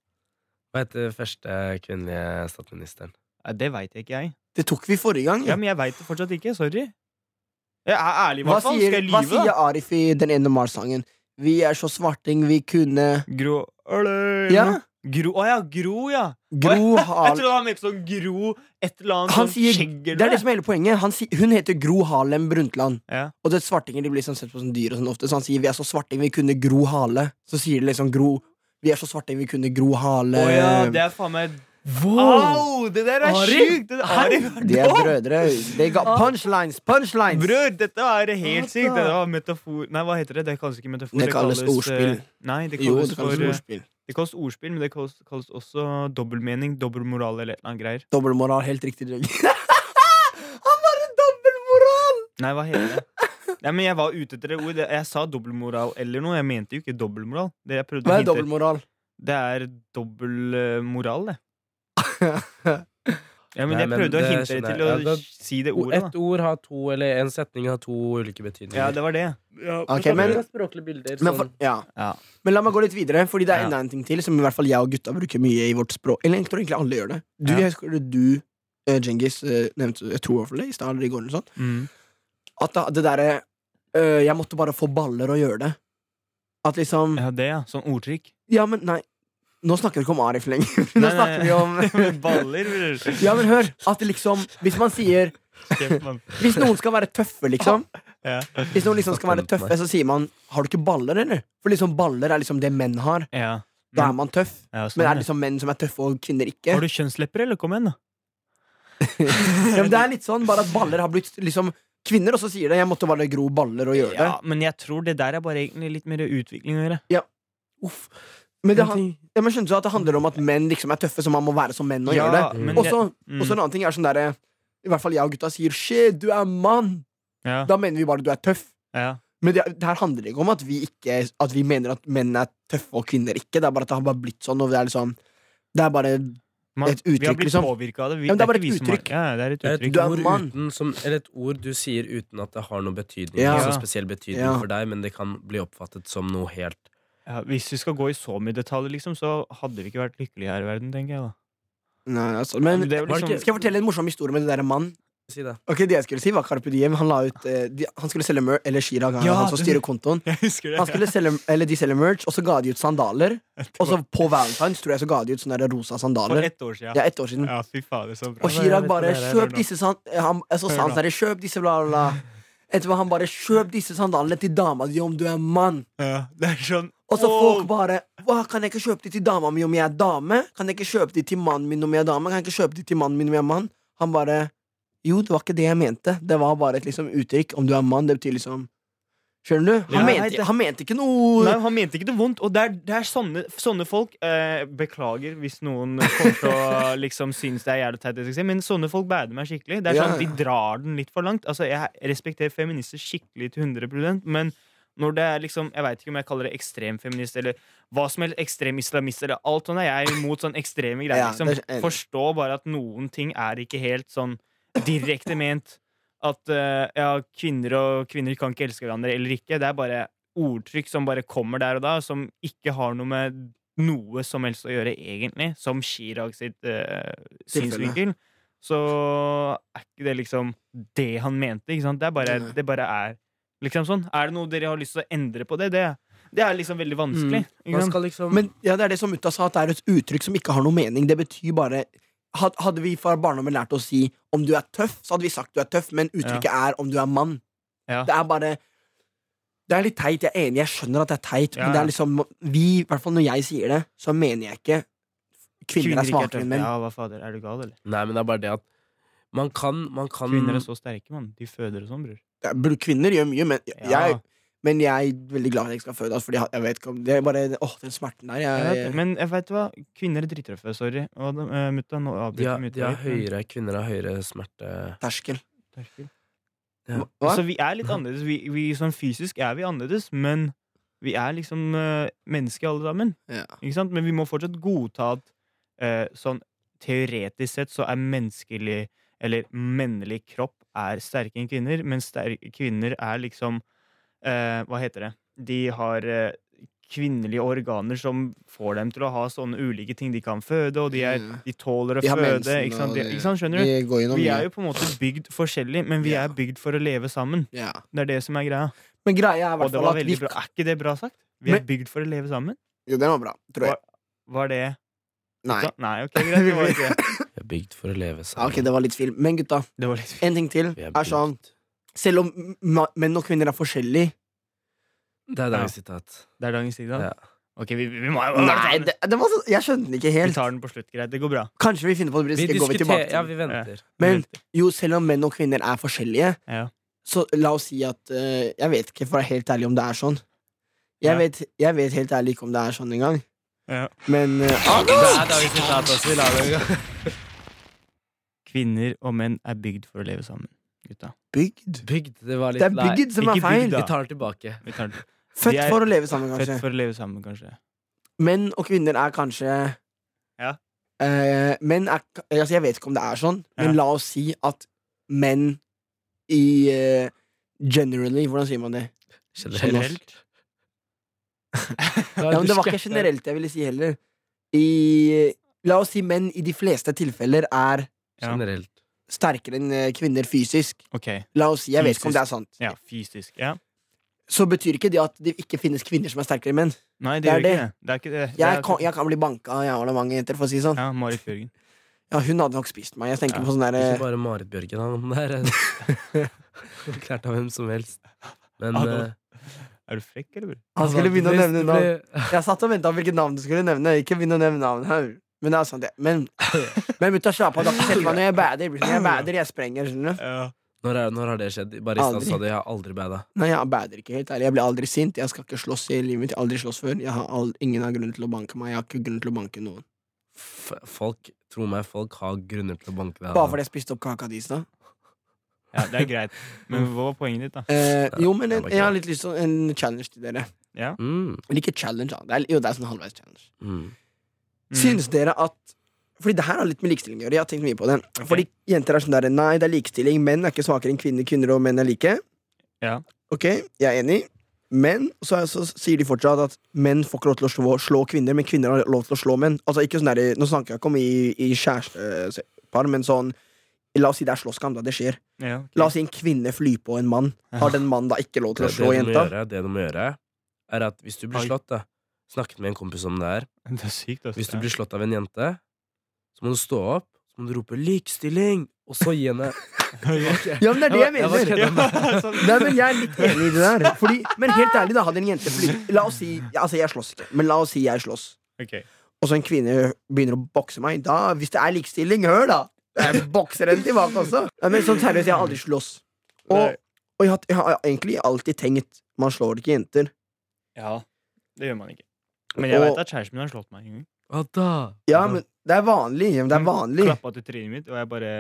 Speaker 3: Hva heter første kvinnelige statsministeren?
Speaker 2: Nei, Det veit ikke jeg.
Speaker 4: Det tok vi forrige gang.
Speaker 2: Ja, Men jeg veit det fortsatt ikke. Sorry. Jeg er ærlig, i
Speaker 4: hva,
Speaker 2: hvert fall.
Speaker 4: sier,
Speaker 2: Skal jeg
Speaker 4: hva
Speaker 2: lyve,
Speaker 4: sier
Speaker 2: da?
Speaker 4: Arif i den ene Mars-sangen? Vi er så svarting, vi kunne
Speaker 2: Gro Alene.
Speaker 4: Ja?
Speaker 2: Gro Å ja, Gro, ja.
Speaker 4: Gro
Speaker 2: Jeg
Speaker 4: Harlem
Speaker 2: trodde han mente sånn Gro et eller annet
Speaker 4: Han
Speaker 2: sånn
Speaker 4: sier-
Speaker 2: skjegg
Speaker 4: Det
Speaker 2: eller
Speaker 4: er det
Speaker 2: noe.
Speaker 4: som er hele poenget. Han, si- hun heter Gro Harlem Brundtland.
Speaker 2: Ja.
Speaker 4: Og det svartinger de blir sånn sett på som dyr og sånn ofte. Så han sier 'vi er så svarting, vi kunne gro hale'. Så sier de liksom 'gro Vi er så svarting, vi kunne gro hale'.
Speaker 2: Å ja,
Speaker 4: Ehm.
Speaker 2: det er faen meg Au! Det der er
Speaker 3: Ari?
Speaker 2: sjukt! Det- Ari var
Speaker 4: De er
Speaker 2: dum!
Speaker 4: brødre. They got punchlines, punchlines!
Speaker 2: Bror, dette er helt
Speaker 3: Hva
Speaker 2: sykt!
Speaker 3: da?
Speaker 2: Det var metafor Nei, hva heter det? Det kalles ikke metafor.
Speaker 4: Det kalles ordspill.
Speaker 2: eh, Nei, det
Speaker 4: jo,
Speaker 2: kalles,
Speaker 4: det kalles
Speaker 2: for, eh,
Speaker 4: ordspill.
Speaker 2: det kalles ordspill, men det kalles, kalles også dobbeltmening, dobbeltmoral eller et eller annet greier.
Speaker 4: Dobbelmoral, helt riktig. Jørgen. (laughs) han var en dobbeltmoral!
Speaker 2: Nei, hva heter det? Nei, men Jeg var ute etter det ordet. Jeg- Jeg sa dobbeltmoral eller noe. Jeg mente jo ikke dobbeltmoral. Det jeg prøvde å
Speaker 4: Hva er
Speaker 2: hinte-
Speaker 4: dobbeltmoral?
Speaker 2: Det er dobbel eh, moral, det. Ja, men
Speaker 3: Nei,
Speaker 2: jeg
Speaker 3: men
Speaker 2: prøvde å
Speaker 3: det
Speaker 2: hinte
Speaker 3: skjønner
Speaker 2: deg
Speaker 3: jeg.
Speaker 2: til å
Speaker 3: Ja, da-
Speaker 2: si det
Speaker 3: O-
Speaker 2: ordet, da.
Speaker 3: Et ord har to, eller en setning har to ulike betydninger.
Speaker 2: Ja, det var det.
Speaker 4: Ok, men-
Speaker 3: Språklige bilder, sånn.
Speaker 4: Men,
Speaker 2: Sånn.
Speaker 4: for, ja.
Speaker 2: Ja.
Speaker 4: Men la meg gå litt videre, Fordi det er
Speaker 2: Ja.
Speaker 4: enda en ting til som i hvert fall jeg og gutta bruker mye i vårt språk. Eller jeg tror egentlig alle gjør det. Du,
Speaker 2: Ja.
Speaker 4: jeg husker du, eh, Djengis, eh, nevnte jeg tror i hvert fall det i stad eller i går. eller sånn
Speaker 2: Mm.
Speaker 4: At da, det derre øh, Jeg måtte bare få baller og gjøre det. At liksom
Speaker 2: ja, det, ja. Sånn ordtrykk.
Speaker 4: Ja, men nei. Nå snakker vi ikke om Arif lenger. (laughs) Nå
Speaker 2: Nei, nei,
Speaker 4: snakker vi
Speaker 2: (laughs) Med
Speaker 4: om
Speaker 2: baller,
Speaker 4: (laughs)
Speaker 2: bror.
Speaker 4: Ja, men hør. At liksom Hvis man sier
Speaker 2: Kjeft, mann.
Speaker 4: Hvis noen skal være tøffe, liksom.
Speaker 2: Ja.
Speaker 4: Hvis noen liksom skal være tøffe, så sier man Har du ikke baller, eller? For liksom baller er liksom det menn har.
Speaker 2: Ja.
Speaker 4: Da er man tøff.
Speaker 2: Ja, sånn,
Speaker 4: Men er
Speaker 2: ja.
Speaker 4: det liksom menn som er tøffe, og kvinner ikke?
Speaker 2: Har du kjønnslepper, eller? Kom igjen, da.
Speaker 4: ja, men det er litt sånn, bare at baller har blitt liksom Kvinner også sier det. Jeg måtte bare gro baller og gjøre det.
Speaker 2: Ja, men jeg tror det der er bare egentlig litt mer utvikling å gjøre.
Speaker 4: Uff. Men, det,
Speaker 3: En
Speaker 4: han-
Speaker 3: ting-
Speaker 4: ja, men skjønner du at det handler om at menn liksom er tøffe, så man må være som menn og gjøre det?
Speaker 3: Mm.
Speaker 2: men
Speaker 4: Og
Speaker 2: jeg-
Speaker 4: så
Speaker 2: mm,
Speaker 4: og så en annen ting er sånn derre I hvert fall jeg og gutta sier 'shit, du er mann'.
Speaker 2: ja,
Speaker 4: Da mener vi bare at du er tøff.
Speaker 2: ja.
Speaker 4: Men det, det her handler ikke om at vi, ikke, at vi mener at menn er tøffe og kvinner ikke. Det er bare at det har bare blitt sånn. Og det er liksom Det er bare
Speaker 2: Man,
Speaker 4: Et
Speaker 2: vi har
Speaker 4: uttrykk,
Speaker 2: blitt
Speaker 4: liksom.
Speaker 2: påvirka av det. Vi,
Speaker 4: Ja, men det er bare
Speaker 2: ikke
Speaker 4: et
Speaker 2: vi som har-
Speaker 4: uttrykk.
Speaker 2: Ja, det er et
Speaker 3: Det er et
Speaker 2: uttrykk.
Speaker 4: Du er
Speaker 3: ord,
Speaker 4: mann.
Speaker 3: uten, som, eller et ord du sier uten at det har noen betydning.
Speaker 4: Ja.
Speaker 3: Ikke sånn spesiell betydning
Speaker 4: Ja.
Speaker 3: for deg, men det kan bli oppfattet som noe helt
Speaker 2: Ja, hvis vi skal gå i så mye detaljer, liksom, så hadde vi ikke vært lykkelige her i verden, tenker jeg. da
Speaker 4: Nei, altså, men,
Speaker 2: Det er
Speaker 4: Var
Speaker 2: jo
Speaker 4: det
Speaker 2: liksom-
Speaker 4: ikke- Skal jeg fortelle en morsom historie med det derre mann?
Speaker 3: Si det.
Speaker 4: Ok, Det jeg skulle si, var Carpe Diem. Han la ut eh, de, Han skulle selge merch Eller Chirag, han,
Speaker 2: Ja,
Speaker 4: han som
Speaker 2: det-
Speaker 4: styrer kontoen.
Speaker 2: (laughs) Jeg husker det.
Speaker 4: Han skulle selge, eller De selger merch, og så ga de ut sandaler. Og så på Valentine's tror jeg så ga de ut sånne der rosa
Speaker 2: For
Speaker 4: sandaler.
Speaker 2: ett år siden.
Speaker 4: Det er ett år siden.
Speaker 2: Ja, fy fader, så bra.
Speaker 4: Og Chirag
Speaker 3: vet
Speaker 4: bare
Speaker 3: det der, jeg hører
Speaker 4: 'kjøp
Speaker 2: nå.
Speaker 4: disse sand... Han, jeg så
Speaker 2: Hører
Speaker 4: sa han
Speaker 2: nå.
Speaker 4: sånn 'kjøp disse', bla, bla, bla. Etterpå han bare 'kjøp disse sandalene til dama di om du er mann'.
Speaker 2: Ja, det er sånn
Speaker 4: Og så
Speaker 2: wow.
Speaker 4: folk bare Hva, Kan jeg ikke kjøpe de til dama mi om jeg er dame? Kan jeg ikke kjøpe de til mannen min om jeg er dame? Kan jeg ikke kjøpe de til mannen min om jeg er mann? Han bare Jo, det var ikke det jeg mente. Det var bare et liksom uttrykk. Om du er mann, det betyr liksom Skjønner du? Han,
Speaker 2: Ja. Nei,
Speaker 4: mente,
Speaker 2: det-
Speaker 4: han mente ikke noe
Speaker 2: Nei, Han mente ikke det vondt. Og det er, det er sånne, sånne folk eh, Beklager hvis noen kommer
Speaker 4: (laughs)
Speaker 2: til å liksom, synes det er jævlig teit, det jeg skal si, men sånne folk bader meg skikkelig. Det er
Speaker 4: Ja,
Speaker 2: sånn, De
Speaker 4: ja.
Speaker 2: drar den litt for langt. Altså, Jeg respekterer feminister skikkelig til 100 men når det er liksom, Jeg veit ikke om jeg kaller det ekstremfeminist eller hva som helst ekstrem islamist eller alt sånt. Jeg er imot sånne ekstreme greier.
Speaker 4: Ja,
Speaker 2: liksom.
Speaker 4: det er-
Speaker 2: Forstå bare at noen ting er ikke helt sånn direkte ment. At eh, ja, kvinner og kvinner kan ikke elske hverandre eller ikke. Det er bare ordtrykk som bare kommer der og da, som ikke har noe med noe som helst å gjøre, egentlig. Som Chirag sitt eh,
Speaker 4: Tilfelle.
Speaker 2: synsvinkel. Så er ikke det liksom det han mente, ikke sant? Det er bare,
Speaker 4: Nei.
Speaker 2: det bare er liksom sånn. Er det noe dere har lyst til å endre på det? Det, det er liksom veldig vanskelig. Ikke
Speaker 3: Man
Speaker 2: sant?
Speaker 3: skal liksom
Speaker 4: Men ja, det er det som Mutta sa, at det er et uttrykk som ikke har noe mening. Det betyr bare had- Hadde vi fra barndommen lært å si 'om du er tøff', så hadde vi sagt 'du er tøff', men uttrykket er 'om du er mann'.
Speaker 2: Ja.
Speaker 4: Det er bare Det er litt teit. Jeg er enig, jeg skjønner at det er teit,
Speaker 2: Ja,
Speaker 4: men det
Speaker 2: ja.
Speaker 4: er liksom Vi, i hvert fall når jeg sier det, så mener jeg ikke kvinner er
Speaker 2: ikke
Speaker 4: svakere enn
Speaker 2: tøffe.
Speaker 4: menn.
Speaker 2: Ja, hva fader, er du gal, eller?
Speaker 3: Nei, men det er bare det at man kan, man kan
Speaker 2: Kvinner er så sterke, mann. De føder og sånn, bror.
Speaker 4: Det er- bro, Kvinner gjør mye, men jeg,
Speaker 2: Ja.
Speaker 4: men jeg er veldig glad at jeg ikke skal føde. Altså, fordi jeg, jeg vet ikke om Det er bare Åh, den smerten der.
Speaker 2: Jeg
Speaker 4: Jeg,
Speaker 2: vet, men jeg vet hva, kvinner er drittøffe, sorry. Og de, eh, mutta, nå
Speaker 3: de
Speaker 2: avbryter jeg
Speaker 3: har, de har
Speaker 2: mutta litt,
Speaker 3: høyere, Kvinner har høyere smerte
Speaker 4: terskel.
Speaker 2: men- Terskel.
Speaker 3: Ja.
Speaker 4: Hva?
Speaker 2: Altså, vi er litt annerledes. Vi, vi, sånn fysisk er vi annerledes, men vi er liksom eh, mennesker alle sammen.
Speaker 4: Ja.
Speaker 2: Ikke sant? Men vi må fortsatt godta at eh, sånn teoretisk sett så er menneskelig eller mennlig kropp er sterke enn kvinner, men sterke kvinner er liksom eh, Hva heter det? De har eh, kvinnelige organer som får dem til å ha sånne ulike ting de kan føde, og de, er,
Speaker 4: Ja.
Speaker 2: de tåler å
Speaker 4: Mm. De har
Speaker 2: føde.
Speaker 4: mensen,
Speaker 2: Ikke sant?
Speaker 4: og
Speaker 2: De,
Speaker 4: det-
Speaker 2: ikke sant? Skjønner du?
Speaker 4: Vi går gjennom
Speaker 2: Vi
Speaker 4: mye.
Speaker 2: er jo på en måte bygd forskjellig, men vi
Speaker 4: Ja.
Speaker 2: er bygd for å leve sammen.
Speaker 4: ja.
Speaker 2: Det er det som er greia.
Speaker 4: Men greia er i
Speaker 2: Og
Speaker 4: hvert
Speaker 2: det
Speaker 4: fall
Speaker 2: var
Speaker 4: at vi
Speaker 2: veldig bra. Er ikke det bra sagt? Vi er
Speaker 4: Men-
Speaker 2: bygd for å leve sammen.
Speaker 4: Jo, den var bra, tror jeg.
Speaker 2: Var det
Speaker 4: Nei.
Speaker 2: da? Nei, ok, greit. Det var ikke
Speaker 4: (laughs)
Speaker 2: det.
Speaker 3: Vi er bygd for å leve
Speaker 4: Ja,
Speaker 3: sammen.
Speaker 4: ok, det var litt film. Men gutta,
Speaker 2: Det var litt
Speaker 4: en ting til
Speaker 3: Vi er
Speaker 4: er sånn
Speaker 3: bygd.
Speaker 4: Selv om ma- menn og kvinner er forskjellige
Speaker 3: Det er
Speaker 2: Ja.
Speaker 3: dagens sitat.
Speaker 2: Det er dagens tid, da.
Speaker 3: Ja.
Speaker 2: Ok, vi, vi må
Speaker 4: Nei, det, det var så, jeg skjønte den ikke
Speaker 2: Vi
Speaker 4: helt.
Speaker 2: tar den på slutt, greit. Det går bra.
Speaker 4: Kanskje vi finner på det.
Speaker 3: Vi
Speaker 4: Vi går vi tilbake
Speaker 3: diskuterer Ja,
Speaker 4: til.
Speaker 3: vi venter.
Speaker 4: Men jo, selv om menn og kvinner er forskjellige,
Speaker 2: Ja.
Speaker 4: så la oss si at eh, Jeg vet ikke, for å være helt ærlig, om det er sånn. Jeg,
Speaker 2: Ja.
Speaker 4: vet, jeg vet helt ærlig ikke om det er sånn engang.
Speaker 2: Ja.
Speaker 4: Men eh,
Speaker 3: Det er dagens sitat også. Vi lar det gå.
Speaker 2: Kvinner og menn er bygd for å leve sammen, gutta.
Speaker 4: bygd
Speaker 3: Bygd. Det var litt
Speaker 4: Det er bygd som er
Speaker 2: Ikke bygd,
Speaker 4: feil.
Speaker 2: da.
Speaker 3: Vi tar den tilbake.
Speaker 2: Vi tar den.
Speaker 4: Født
Speaker 2: Vi er-
Speaker 4: for å leve sammen,
Speaker 2: Født
Speaker 4: kanskje.
Speaker 2: for å leve sammen, kanskje.
Speaker 4: Menn og kvinner er kanskje
Speaker 2: Ja.
Speaker 4: Eh, Menn er ka- altså Jeg vet ikke om det er sånn, men
Speaker 2: Ja.
Speaker 4: la oss si at menn i eh, Generally, hvordan sier man det?
Speaker 3: Generelt.
Speaker 4: Ja, men det var ikke generelt jeg ville si heller. I, la oss si menn i de fleste tilfeller er
Speaker 2: Ja.
Speaker 3: Generelt.
Speaker 4: sterkere enn eh, kvinner fysisk.
Speaker 2: Ok.
Speaker 4: La oss si, Jeg vet
Speaker 2: Fysisk.
Speaker 4: ikke om det er sant.
Speaker 2: Ja, fysisk. Ja.
Speaker 4: Så betyr ikke det at det ikke finnes kvinner som er sterkere enn menn.
Speaker 2: Nei,
Speaker 4: Det
Speaker 2: det
Speaker 4: er
Speaker 2: gjør ikke det. Det er ikke det. det
Speaker 4: Jeg
Speaker 2: er, altså-
Speaker 4: kan, jeg kan bli banka av jævla mange jenter, for å si det sånn.
Speaker 2: Ja, Marit Bjørgen.
Speaker 4: Ja, hun hadde nok spist meg. Jeg tenker
Speaker 2: Ja.
Speaker 4: på sånn der,
Speaker 3: Ikke
Speaker 4: eh,
Speaker 3: bare
Speaker 4: (laughs)
Speaker 3: Marit Bjørgen, han der. Klart av hvem som helst. Men
Speaker 2: Ja, det var-
Speaker 3: eh, altså,
Speaker 2: Er du frekk, eller?
Speaker 4: Han skulle begynne å
Speaker 1: hvis
Speaker 4: nevne
Speaker 1: det
Speaker 4: navn.
Speaker 1: blir-
Speaker 4: Jeg satt og venta på hvilket navn du skulle nevne. Ikke begynn å nevne navn her. Men det er sant, det. Men,
Speaker 3: (laughs)
Speaker 4: men mutta slapp av. da. Sett meg ned, Jeg bader, sånn, jeg bader, jeg sprenger. skjønner du?
Speaker 2: Ja.
Speaker 3: Når, er, når har det skjedd? Bare i stad
Speaker 4: Aldri.
Speaker 3: sa de jeg har aldri bada.
Speaker 4: Nei, jeg bader ikke helt ærlig. Jeg blir aldri sint. Jeg skal ikke slåss i livet mitt. Jeg har aldri slåss før. Jeg har all, ingen har grunn til å banke meg. Jeg har ikke grunn til å banke noen.
Speaker 3: F- Folk, tro meg, folk har grunner til å banke deg.
Speaker 4: Bare fordi jeg spiste opp kaka di i stad.
Speaker 2: ja, det er greit.
Speaker 4: Mm.
Speaker 2: Men hva var poenget ditt, da?
Speaker 4: Eh, jo, men
Speaker 3: det
Speaker 4: en,
Speaker 3: var ikke
Speaker 4: jeg har litt lyst til en challenge til dere.
Speaker 2: Ja.
Speaker 3: Mm,
Speaker 4: Eller ikke challenge, da. Det er, jo, det er sånn halvveis challenge.
Speaker 3: mm.
Speaker 2: Mm.
Speaker 4: Synes dere at fordi det her har litt med likestilling å gjøre. Jeg har tenkt mye på det.
Speaker 2: Ok.
Speaker 4: Fordi jenter er sånn der Nei, det er likestilling. Menn er ikke svakere enn kvinner. Kvinner og menn er like.
Speaker 2: Ja.
Speaker 4: Ok, jeg er enig. Men så, er, så sier de fortsatt at menn får ikke lov til å slå, slå kvinner, men kvinner har lov til å slå menn. Altså ikke sånn der, Nå snakker jeg ikke om i, i kjærestepar, men sånn La oss si det er slåsskamp, da. Det skjer.
Speaker 2: Ja, ok.
Speaker 4: La oss si en kvinne flyr på en mann. Har den mannen da ikke lov til å
Speaker 3: det, det,
Speaker 4: slå
Speaker 3: du må
Speaker 4: jenta?
Speaker 3: gjøre, det du må gjøre, er at hvis du blir
Speaker 2: Oi.
Speaker 3: slått da, Snakket med en kompis om det her.
Speaker 2: Det er sykt, altså.
Speaker 3: Hvis
Speaker 2: (laughs)
Speaker 3: du blir slått av en jente, så må du stå opp, så må du rope 'likestilling', og så gi henne
Speaker 2: Ja.
Speaker 4: Ja, men det er det jeg
Speaker 3: Jeg
Speaker 4: mener!
Speaker 3: var- jeg var kødda
Speaker 4: (laughs)
Speaker 3: med
Speaker 2: (laughs)
Speaker 3: deg.
Speaker 2: Sånn.
Speaker 4: Nei, men Jeg er litt enig i det der. Fordi, men helt ærlig, da hadde en jente fly La oss si ja, Altså, jeg slåss ikke, men la oss si jeg slåss.
Speaker 2: Ok.
Speaker 4: Og så en kvinne begynner å bokse meg. Da, Hvis det er likestilling, hør, da! Jeg bokser henne tilbake også. Nei, men sånn seriøst, jeg har aldri slåss. Og,
Speaker 2: Nei.
Speaker 4: og jeg, har, jeg har egentlig alltid tenkt man slår ikke jenter.
Speaker 2: Ja, det gjør man ikke. Men jeg
Speaker 4: Og-
Speaker 2: vet at kjæresten min har slått meg en gang.
Speaker 3: (laughs) Hva da?
Speaker 4: Ja, men det er vanlig. men Det er
Speaker 2: Hun
Speaker 4: vanlig.
Speaker 2: Klappa til trynet mitt, og jeg bare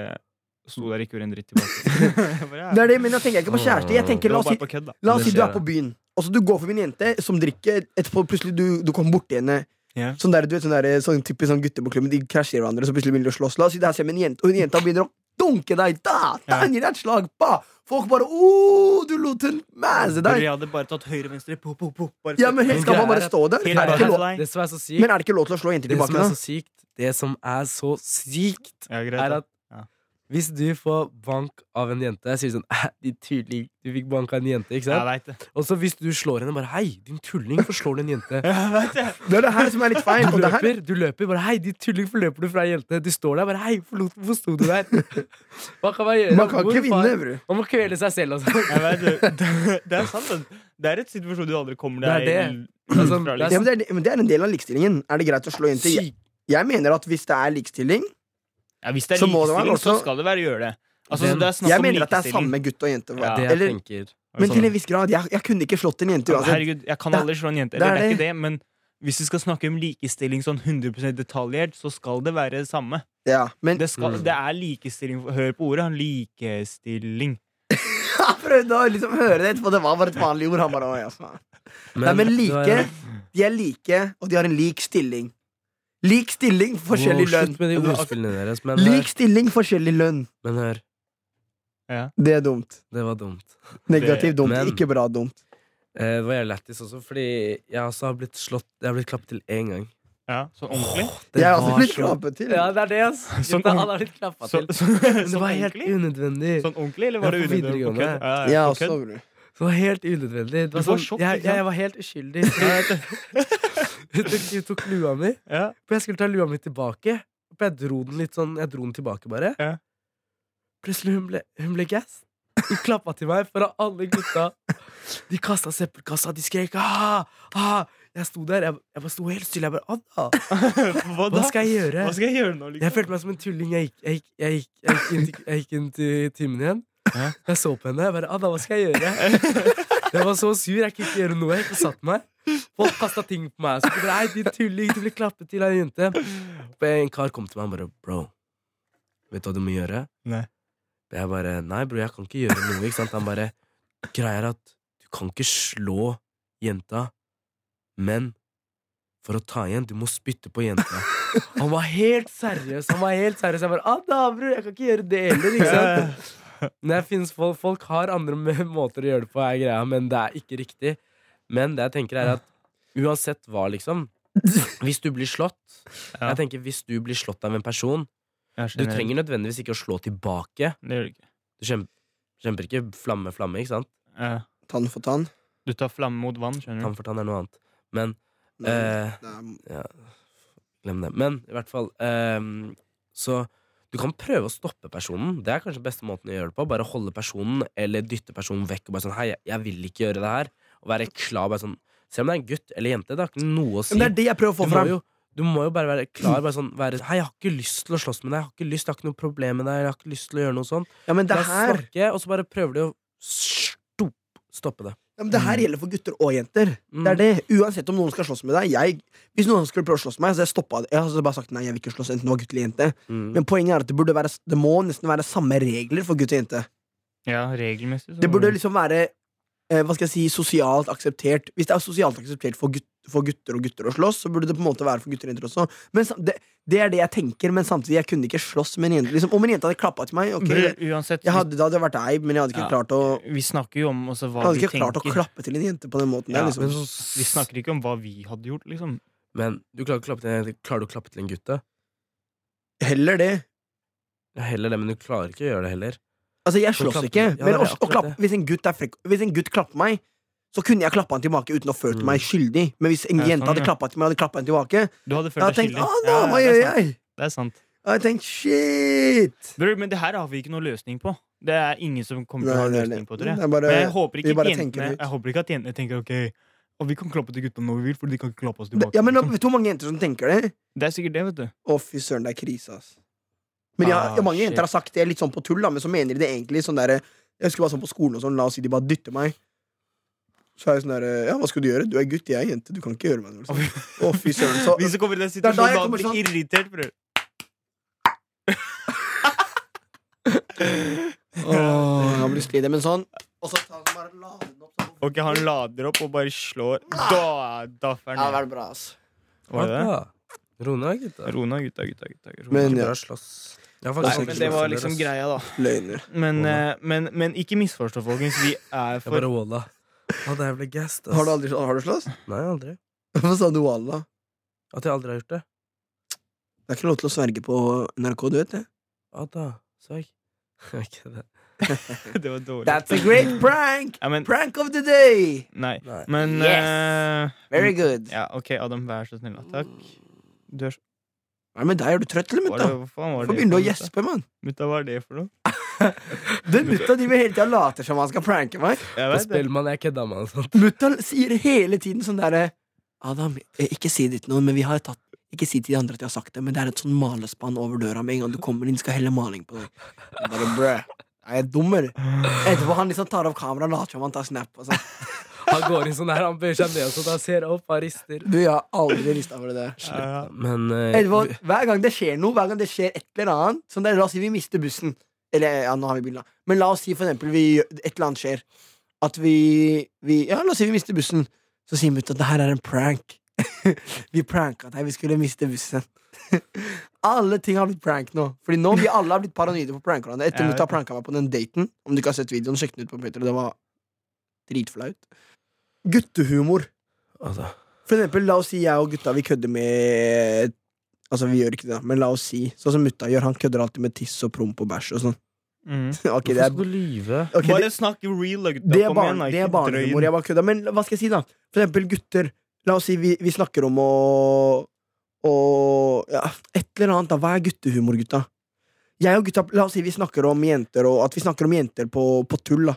Speaker 2: sto der og ikke gjorde en dritt
Speaker 4: (laughs)
Speaker 2: tilbake. Jeg bare, ja.
Speaker 4: Det er det, men da tenker jeg ikke på kjæreste. Jeg
Speaker 2: Det
Speaker 4: tenker,
Speaker 2: var
Speaker 4: La oss
Speaker 2: bare
Speaker 4: si,
Speaker 2: på kødd, da.
Speaker 4: la oss
Speaker 3: Det
Speaker 4: si du
Speaker 3: skjer,
Speaker 4: er på byen, og så du går forbi en jente som drikker. Etterpå plutselig du, du kommer borti henne.
Speaker 2: Ja.
Speaker 4: Sånn der, du vet, sånn der, sånn typisk sånn gutter på klubben, de krasjer hverandre, så plutselig begynner de å slåss. La oss si det her skjer med en jente, og hun jenta begynner å dunke deg. Da, da,
Speaker 2: Ja.
Speaker 4: gir deg et slag, ba. Folk bare Å, du lot hun mæse
Speaker 2: Fordi
Speaker 4: deg.
Speaker 2: jeg hadde bare tatt høyre, venstre, po, po, po. Bare
Speaker 4: Altså,
Speaker 2: sånn.
Speaker 4: Ja, men helt Skal man
Speaker 3: Greia er
Speaker 4: bare
Speaker 3: at-
Speaker 4: stå der?
Speaker 2: Helt
Speaker 4: Er det
Speaker 2: bare
Speaker 4: ikke lov?
Speaker 2: Nei.
Speaker 3: Det som er så sykt,
Speaker 4: Men er det ikke lov til å slå jenter
Speaker 3: det som
Speaker 4: tilbake?
Speaker 3: er
Speaker 4: da?
Speaker 3: så sykt, det som er så sykt,
Speaker 2: Ja, greit,
Speaker 3: er
Speaker 2: da.
Speaker 3: at hvis du får bank av en jente, sier du sånn (laughs) «Æ, din tulling, du fikk bank av en jente,
Speaker 2: Jeg
Speaker 3: ikke sant?
Speaker 2: veit det.
Speaker 3: Og så hvis du slår henne, bare hei, din tulling, hvorfor slår du en jente?
Speaker 4: (laughs)
Speaker 2: Jeg vet det.
Speaker 4: Det er det her som er litt feil.
Speaker 3: Du
Speaker 4: Og det her,
Speaker 3: løper, du løper, bare hei, din tulling, hvorfor løper du fra en jente? Du står der, bare hei, forlot, hvorfor sto du der? (laughs) Hva kan man gjøre?
Speaker 4: man kan ikke
Speaker 3: Hvor faen-
Speaker 4: vinne, bro.
Speaker 3: Man må kvele seg selv, altså.
Speaker 2: Jeg vet det. det. Det er sant, det. Det er et situasjon du aldri kommer deg
Speaker 3: Det er Det er sånn-
Speaker 2: fra,
Speaker 4: Ja,
Speaker 2: liksom.
Speaker 4: men det, er, men det er en del av likestillingen. Er det greit å slå jenter? Jeg,
Speaker 3: Sykt.
Speaker 4: jeg mener at hvis det er likestilling
Speaker 2: Ja, hvis det er
Speaker 4: Så må det være
Speaker 2: likestilling, så
Speaker 4: også-
Speaker 2: skal det være å gjøre det. Altså,
Speaker 3: Den-
Speaker 2: det er snakk
Speaker 4: Jeg
Speaker 2: om
Speaker 4: mener at det er
Speaker 2: likestilling.
Speaker 4: samme gutt og jente.
Speaker 2: Ja.
Speaker 3: Det jeg
Speaker 4: Eller,
Speaker 3: tenker.
Speaker 4: men til en viss grad. Jeg, jeg kunne ikke slått en jente uansett.
Speaker 2: sånn? Herregud, jeg kan
Speaker 4: altså, Det-
Speaker 2: aldri slå en jente.
Speaker 4: det er
Speaker 2: Eller, det er
Speaker 4: det.
Speaker 2: ikke det, men hvis vi skal snakke om likestilling sånn 100 detaljert, så skal det være det samme.
Speaker 4: Ja, men (laughs)
Speaker 2: Det, skal,
Speaker 3: Mm.
Speaker 2: det er likestilling. Hør på ordet. Likestilling.
Speaker 4: jeg prøvde å liksom høre det etterpå. Det var bare et vanlig ord. Han bare, «Å, ja, faen». Nei, men like De er like, og de har en lik stilling. Lik stilling, forskjellig
Speaker 3: Wow,
Speaker 4: lønn. Altså,
Speaker 3: Slutt med de ordspillene deres. Men,
Speaker 4: (laughs) Lik stilling, forskjellig lønn.
Speaker 3: hør, men hør,
Speaker 4: Det er dumt.
Speaker 3: det var dumt.
Speaker 4: Negativt dumt.
Speaker 3: Men-
Speaker 4: Ikke bra dumt.
Speaker 3: Eh, det var jævlig lættis også, fordi jeg også har blitt slått Jeg har blitt klappet til én gang.
Speaker 2: Ja, sånn ordentlig.
Speaker 3: Det
Speaker 4: jeg har også
Speaker 3: var
Speaker 4: blitt
Speaker 3: så-
Speaker 4: klappet til.
Speaker 3: Ja, det er det,
Speaker 2: (laughs)
Speaker 3: ass.
Speaker 2: Sånn
Speaker 3: Gutta,
Speaker 2: ung-
Speaker 3: han har blitt klappa
Speaker 2: Så,
Speaker 3: til.
Speaker 2: så,
Speaker 3: Men det
Speaker 2: sånn
Speaker 3: var helt
Speaker 2: ordentlig?
Speaker 3: unødvendig.
Speaker 2: Sånn ordentlig, eller var
Speaker 3: Ja,
Speaker 2: det
Speaker 3: på
Speaker 2: unødvendig? På kødd?
Speaker 3: videregående.
Speaker 2: Ja, ja,
Speaker 4: Jeg
Speaker 2: på
Speaker 4: også,
Speaker 2: kødd.
Speaker 4: bror.
Speaker 3: Det var helt unødvendig. Det var
Speaker 2: Du var
Speaker 3: sånn,
Speaker 2: sjokk,
Speaker 3: jeg,
Speaker 2: ikke sant?
Speaker 3: jeg, var helt
Speaker 2: (laughs)
Speaker 3: uskyldig. (laughs) Hun tok, hun tok lua mi,
Speaker 2: Ja. (laughs)
Speaker 3: for jeg skulle ta lua mi tilbake. For jeg dro den litt sånn Jeg dro den tilbake, bare.
Speaker 2: Ja.
Speaker 3: Plutselig hun ble hun ble gass. Hun klappa til meg foran alle gutta. De kasta søppelkassa, de skrek ah, ah. Jeg sto der, jeg, jeg bare sto helt stille. Jeg bare, «Anna,
Speaker 2: Hva da?
Speaker 3: Hva skal jeg gjøre?
Speaker 2: Hva skal jeg gjøre nå,
Speaker 3: Jeg
Speaker 2: liksom?
Speaker 3: følte meg som en tulling. Jeg gikk, jeg gikk, jeg gikk, jeg gikk, inn, til- jeg gikk inn til timen igjen.
Speaker 2: Ja.
Speaker 3: Jeg så på henne. Jeg bare, Anna, hva skal jeg gjøre? Jeg var så sur. Jeg kunne ikke gjøre noe. Jeg gikk og satt meg. Folk kasta ting på meg. Så jeg bare, Nei, din tulling, du ble klappet til av en jente. Og En kar kom til meg og bare Bro, vet du hva du må gjøre?
Speaker 2: Nei.
Speaker 3: Jeg bare Nei, bro, jeg kan ikke gjøre noe. Ikke sant? Han bare Greia er at du kan ikke slå jenta, men for å ta igjen, du må spytte på jenta. Han var helt seriøs. Han var helt seriøs Jeg bare Ada, bror, jeg kan ikke gjøre det heller. Ikke
Speaker 2: (laughs)
Speaker 3: sant? Men det finnes folk, folk har andre (laughs) m- måter å gjøre det på, er greia, men det er ikke riktig. Men det jeg tenker, er at uansett hva, liksom Hvis du blir slått
Speaker 2: Ja.
Speaker 3: Jeg tenker Hvis du blir slått av en person
Speaker 2: Jeg
Speaker 3: Du
Speaker 2: skjønner.
Speaker 3: trenger nødvendigvis ikke å slå tilbake.
Speaker 2: Det gjør du ikke.
Speaker 3: Du kjemper, kjemper ikke flamme, flamme, ikke sant?
Speaker 2: Ja.
Speaker 4: Tann for tann.
Speaker 2: Du tar flamme mot vann,
Speaker 4: Mm.
Speaker 2: skjønner
Speaker 3: Tann
Speaker 2: du.
Speaker 3: for tann er noe annet. Men
Speaker 4: Nei,
Speaker 3: Eh.
Speaker 4: det er-
Speaker 3: Glem det. Men i hvert fall ehm, Så du kan prøve å stoppe personen. Det er kanskje beste måten å gjøre det på. Bare holde personen eller dytte personen vekk. Og bare sånn Hei, jeg vil ikke gjøre det her. Å være klar bare sånn Selv om det er en gutt eller jente, det har ikke noe å si.
Speaker 4: Men det er det jeg prøver å få
Speaker 3: du, må
Speaker 4: fram.
Speaker 3: jo, du må jo bare være klar. Bare sånn, være, Hei, jeg har ikke lyst til å slåss med deg. Jeg har ikke lyst, jeg har ikke noe problem med deg. Jeg har ikke lyst til å gjøre noe sånt.
Speaker 4: Ja, men det
Speaker 3: La oss
Speaker 4: her,
Speaker 3: snakke, og så bare prøver de å stop, stoppe det.
Speaker 4: ja, men det
Speaker 3: Mm.
Speaker 4: her gjelder for gutter og jenter. Det er det.
Speaker 2: Mm.
Speaker 4: Uansett om noen skal slåss med deg. Jeg, hvis noen skulle prøve å slåss med meg, så hadde jeg stoppa det. Jeg hadde bare sagt nei, jeg vil ikke slåss, enten det var gutt eller jente.
Speaker 3: Mm.
Speaker 4: Men poenget er at det, burde være, det må nesten være samme regler for gutt og jente.
Speaker 2: Ja, regelmessig. så-
Speaker 4: Det burde liksom være eh, hva skal jeg si, sosialt akseptert. Hvis det er sosialt akseptert for, gut for gutter og gutter å slåss, så burde det på en måte være for gutter og jenter også. Men sam- det, det er det jeg tenker, men samtidig jeg kunne ikke slåss med en jente. Liksom, om en jente hadde klappa til meg, ok,
Speaker 2: Bro, Uansett,
Speaker 4: jeg hadde, det hadde vært eib, men jeg hadde ikke
Speaker 2: Ja.
Speaker 4: klart å
Speaker 2: vi, vi snakker jo om også
Speaker 4: jeg
Speaker 2: hva
Speaker 4: hadde
Speaker 2: vi
Speaker 4: ikke klart å
Speaker 2: tenker.
Speaker 4: klappe til en jente på den måten.
Speaker 2: Ja,
Speaker 4: der, liksom.
Speaker 2: men så- vi snakker ikke om hva vi hadde gjort, liksom.
Speaker 3: Men du klarer, ikke å klappe til, en jente. klarer du å klappe til en gutt, da?
Speaker 4: Heller det.
Speaker 3: Ja, Heller det, men du klarer ikke å gjøre det heller.
Speaker 4: Altså, jeg
Speaker 3: Så
Speaker 4: slåss
Speaker 3: klappe-
Speaker 4: ikke,
Speaker 3: Ja,
Speaker 4: men
Speaker 3: det er
Speaker 4: å, å
Speaker 3: akkurat
Speaker 4: klappe,
Speaker 3: det.
Speaker 4: hvis, en gutt er frekk, hvis en gutt klapper meg, så kunne jeg klappa han tilbake uten å følt
Speaker 3: Mm.
Speaker 4: meg skyldig. Men hvis en
Speaker 2: Ja,
Speaker 4: jente
Speaker 2: sånn,
Speaker 4: hadde
Speaker 2: ja.
Speaker 4: klappa til meg, hadde klappa han tilbake,
Speaker 2: Du
Speaker 4: jeg
Speaker 2: hadde følt
Speaker 4: hadde
Speaker 2: deg
Speaker 4: tenkt
Speaker 2: skyldig.
Speaker 4: ah, da,
Speaker 2: Ja,
Speaker 4: hva
Speaker 2: det,
Speaker 4: gjør
Speaker 2: er
Speaker 4: jeg?
Speaker 2: sant. det er sant.
Speaker 4: Jeg hadde tenkt shit!
Speaker 2: Bro, men det her har vi ikke noe løsning på. Det er ingen som kommer til å ha en
Speaker 4: Nei,
Speaker 2: løsning på, tror jeg.
Speaker 4: er bare,
Speaker 2: Men jeg håper ikke,
Speaker 4: vi bare tenker
Speaker 2: jentene,
Speaker 4: det ut.
Speaker 2: jeg håper ikke at jentene tenker ok Og vi kan klappe til gutta når vi vil, for de kan ikke klappe oss
Speaker 4: Det-
Speaker 2: tilbake.
Speaker 4: ja, men
Speaker 2: liksom.
Speaker 4: Vet du hvor mange jenter som tenker det?
Speaker 2: Det er sikkert det, vet du.
Speaker 4: Å, fy søren, det er krise, ass. Men ja,
Speaker 2: Ah,
Speaker 4: ja, mange
Speaker 2: shit.
Speaker 4: jenter har sagt det litt sånn på tull, da, men så mener de det egentlig sånn derre Jeg husker bare sånn på skolen og sånn, la oss si de bare dytter meg. Så er jeg sånn derre Ja, hva skal du gjøre? Du er gutt, jeg er jente, du kan ikke gjøre meg noe. liksom.
Speaker 2: (laughs)
Speaker 4: Å, fy søren. Så
Speaker 2: Hvis du kommer i
Speaker 4: da
Speaker 2: den
Speaker 4: jeg
Speaker 2: situasjonen, da
Speaker 4: kommer
Speaker 2: blir
Speaker 4: sånn-
Speaker 2: irritert, bror.
Speaker 4: Åh, jeg blir slidig, men sånn. Og så ta bare lade den opp sånn.
Speaker 2: Ok, han lader opp og bare slår. Da
Speaker 4: Ja,
Speaker 2: daffer
Speaker 4: det hadde
Speaker 2: han ned.
Speaker 4: vært bra, ass.
Speaker 2: Var det det?
Speaker 3: Ro ned, gutta.
Speaker 2: Ro nå, gutta, gutta. gutta ro nå.
Speaker 4: Men
Speaker 3: Ikke
Speaker 4: ja,
Speaker 3: bra slåss. Jeg har
Speaker 2: Nei,
Speaker 3: faktisk
Speaker 2: men det
Speaker 3: ikke slåss
Speaker 2: var
Speaker 3: med dere,
Speaker 2: liksom
Speaker 3: ass.
Speaker 2: greia, da.
Speaker 4: løgner.
Speaker 2: Men,
Speaker 3: Walla.
Speaker 2: eh, men, men ikke misforstå, folkens. Vi er
Speaker 3: Jeg bare
Speaker 2: for
Speaker 3: walla. Å, da jeg ble gassed, ass.
Speaker 4: Har du aldri har du slåss? (laughs)
Speaker 3: Nei, aldri.
Speaker 4: Hvorfor sa du walla?
Speaker 3: At jeg aldri har gjort det?
Speaker 4: Det er ikke lov til å sverge på NRK, du vet det.
Speaker 3: Å, da. (laughs) Søk. Ok, det.
Speaker 2: Det var dårlig.
Speaker 4: That's a great prank!
Speaker 2: Ja, men,
Speaker 4: Prank of the day!
Speaker 2: nei.
Speaker 3: Nei.
Speaker 2: Men
Speaker 4: Yes.
Speaker 2: eh,
Speaker 4: Very good.
Speaker 2: Ja, OK, Adam, vær så snill. da. Takk. Du er så
Speaker 4: Hva er det med deg? Er du trøtt, eller,
Speaker 2: Hva er
Speaker 4: mutta?
Speaker 2: det- hva faen var
Speaker 4: Hvorfor
Speaker 2: det?
Speaker 4: begynner du å
Speaker 2: for noe,
Speaker 4: gjespe, mann?
Speaker 2: mutta? Mutta, hva er det for noe?
Speaker 4: Den mutta driver hele tida og later som han skal pranke meg.
Speaker 2: Jeg
Speaker 3: På
Speaker 2: vet det.
Speaker 3: Spellemann, jeg kødda med han sånn.
Speaker 4: Mutta sier hele tiden sånn derre Adam, eh, ikke si det til noen, men vi har tatt Ikke si til de andre at jeg har sagt det, men det er et sånn malespann over døra med en gang du kommer inn, skal helle maling på deg. Jeg Bare brø. Er jeg dum, eller? Etterpå han liksom tar av kameraet og later som han tar snap. Og sånn.
Speaker 3: Han går inn sånn her, han bøyer seg ned sånn, han ser opp, han rister.
Speaker 4: Du, jeg har aldri rista over det der.
Speaker 2: Ja,
Speaker 3: Men eh,
Speaker 4: Etterpå, hver gang det skjer noe, hver gang det skjer et eller annet Sånn der, La oss si vi mister bussen. Eller ja, nå har vi bilen, da. Men la oss si for eksempel vi, et eller annet skjer. At vi, vi Ja, la oss si vi mister bussen. Så sier mutta at det her er en prank. (laughs) vi pranka deg, vi skulle miste bussen. (laughs) alle ting har blitt prank nå. Fordi nå vi alle har blitt paranoide på prank hverandre. Etter
Speaker 2: Jeg
Speaker 4: mutta
Speaker 2: vet det.
Speaker 4: pranka meg på den daten. Om du ikke har sett videoen, sjekk den ut på Peter. Det var dritflaut. Guttehumor.
Speaker 3: altså,
Speaker 4: For eksempel, la oss si jeg og gutta vi kødder med Altså, vi gjør ikke det, da, men la oss si sånn som mutta gjør. Han kødder alltid med tiss og promp og bæsj og sånn. (laughs)
Speaker 2: Mm.
Speaker 4: Ok, det
Speaker 3: Hvorfor
Speaker 4: er,
Speaker 3: skal du lyve?
Speaker 4: ok,
Speaker 2: Bare
Speaker 4: det,
Speaker 2: snakk real, da, gutta.
Speaker 4: det er,
Speaker 2: Kom igjen,
Speaker 4: barn, det
Speaker 2: da,
Speaker 4: er
Speaker 2: ikke drøy
Speaker 4: barnehumor.
Speaker 2: den.
Speaker 4: Jeg bare kødder. Men hva skal jeg si, da? For eksempel gutter. La oss si vi, vi snakker om å å ja, et eller annet, da. Hva er guttehumor, gutta? Jeg og gutta, La oss si vi snakker om jenter, og at vi snakker om jenter på, på tull, da.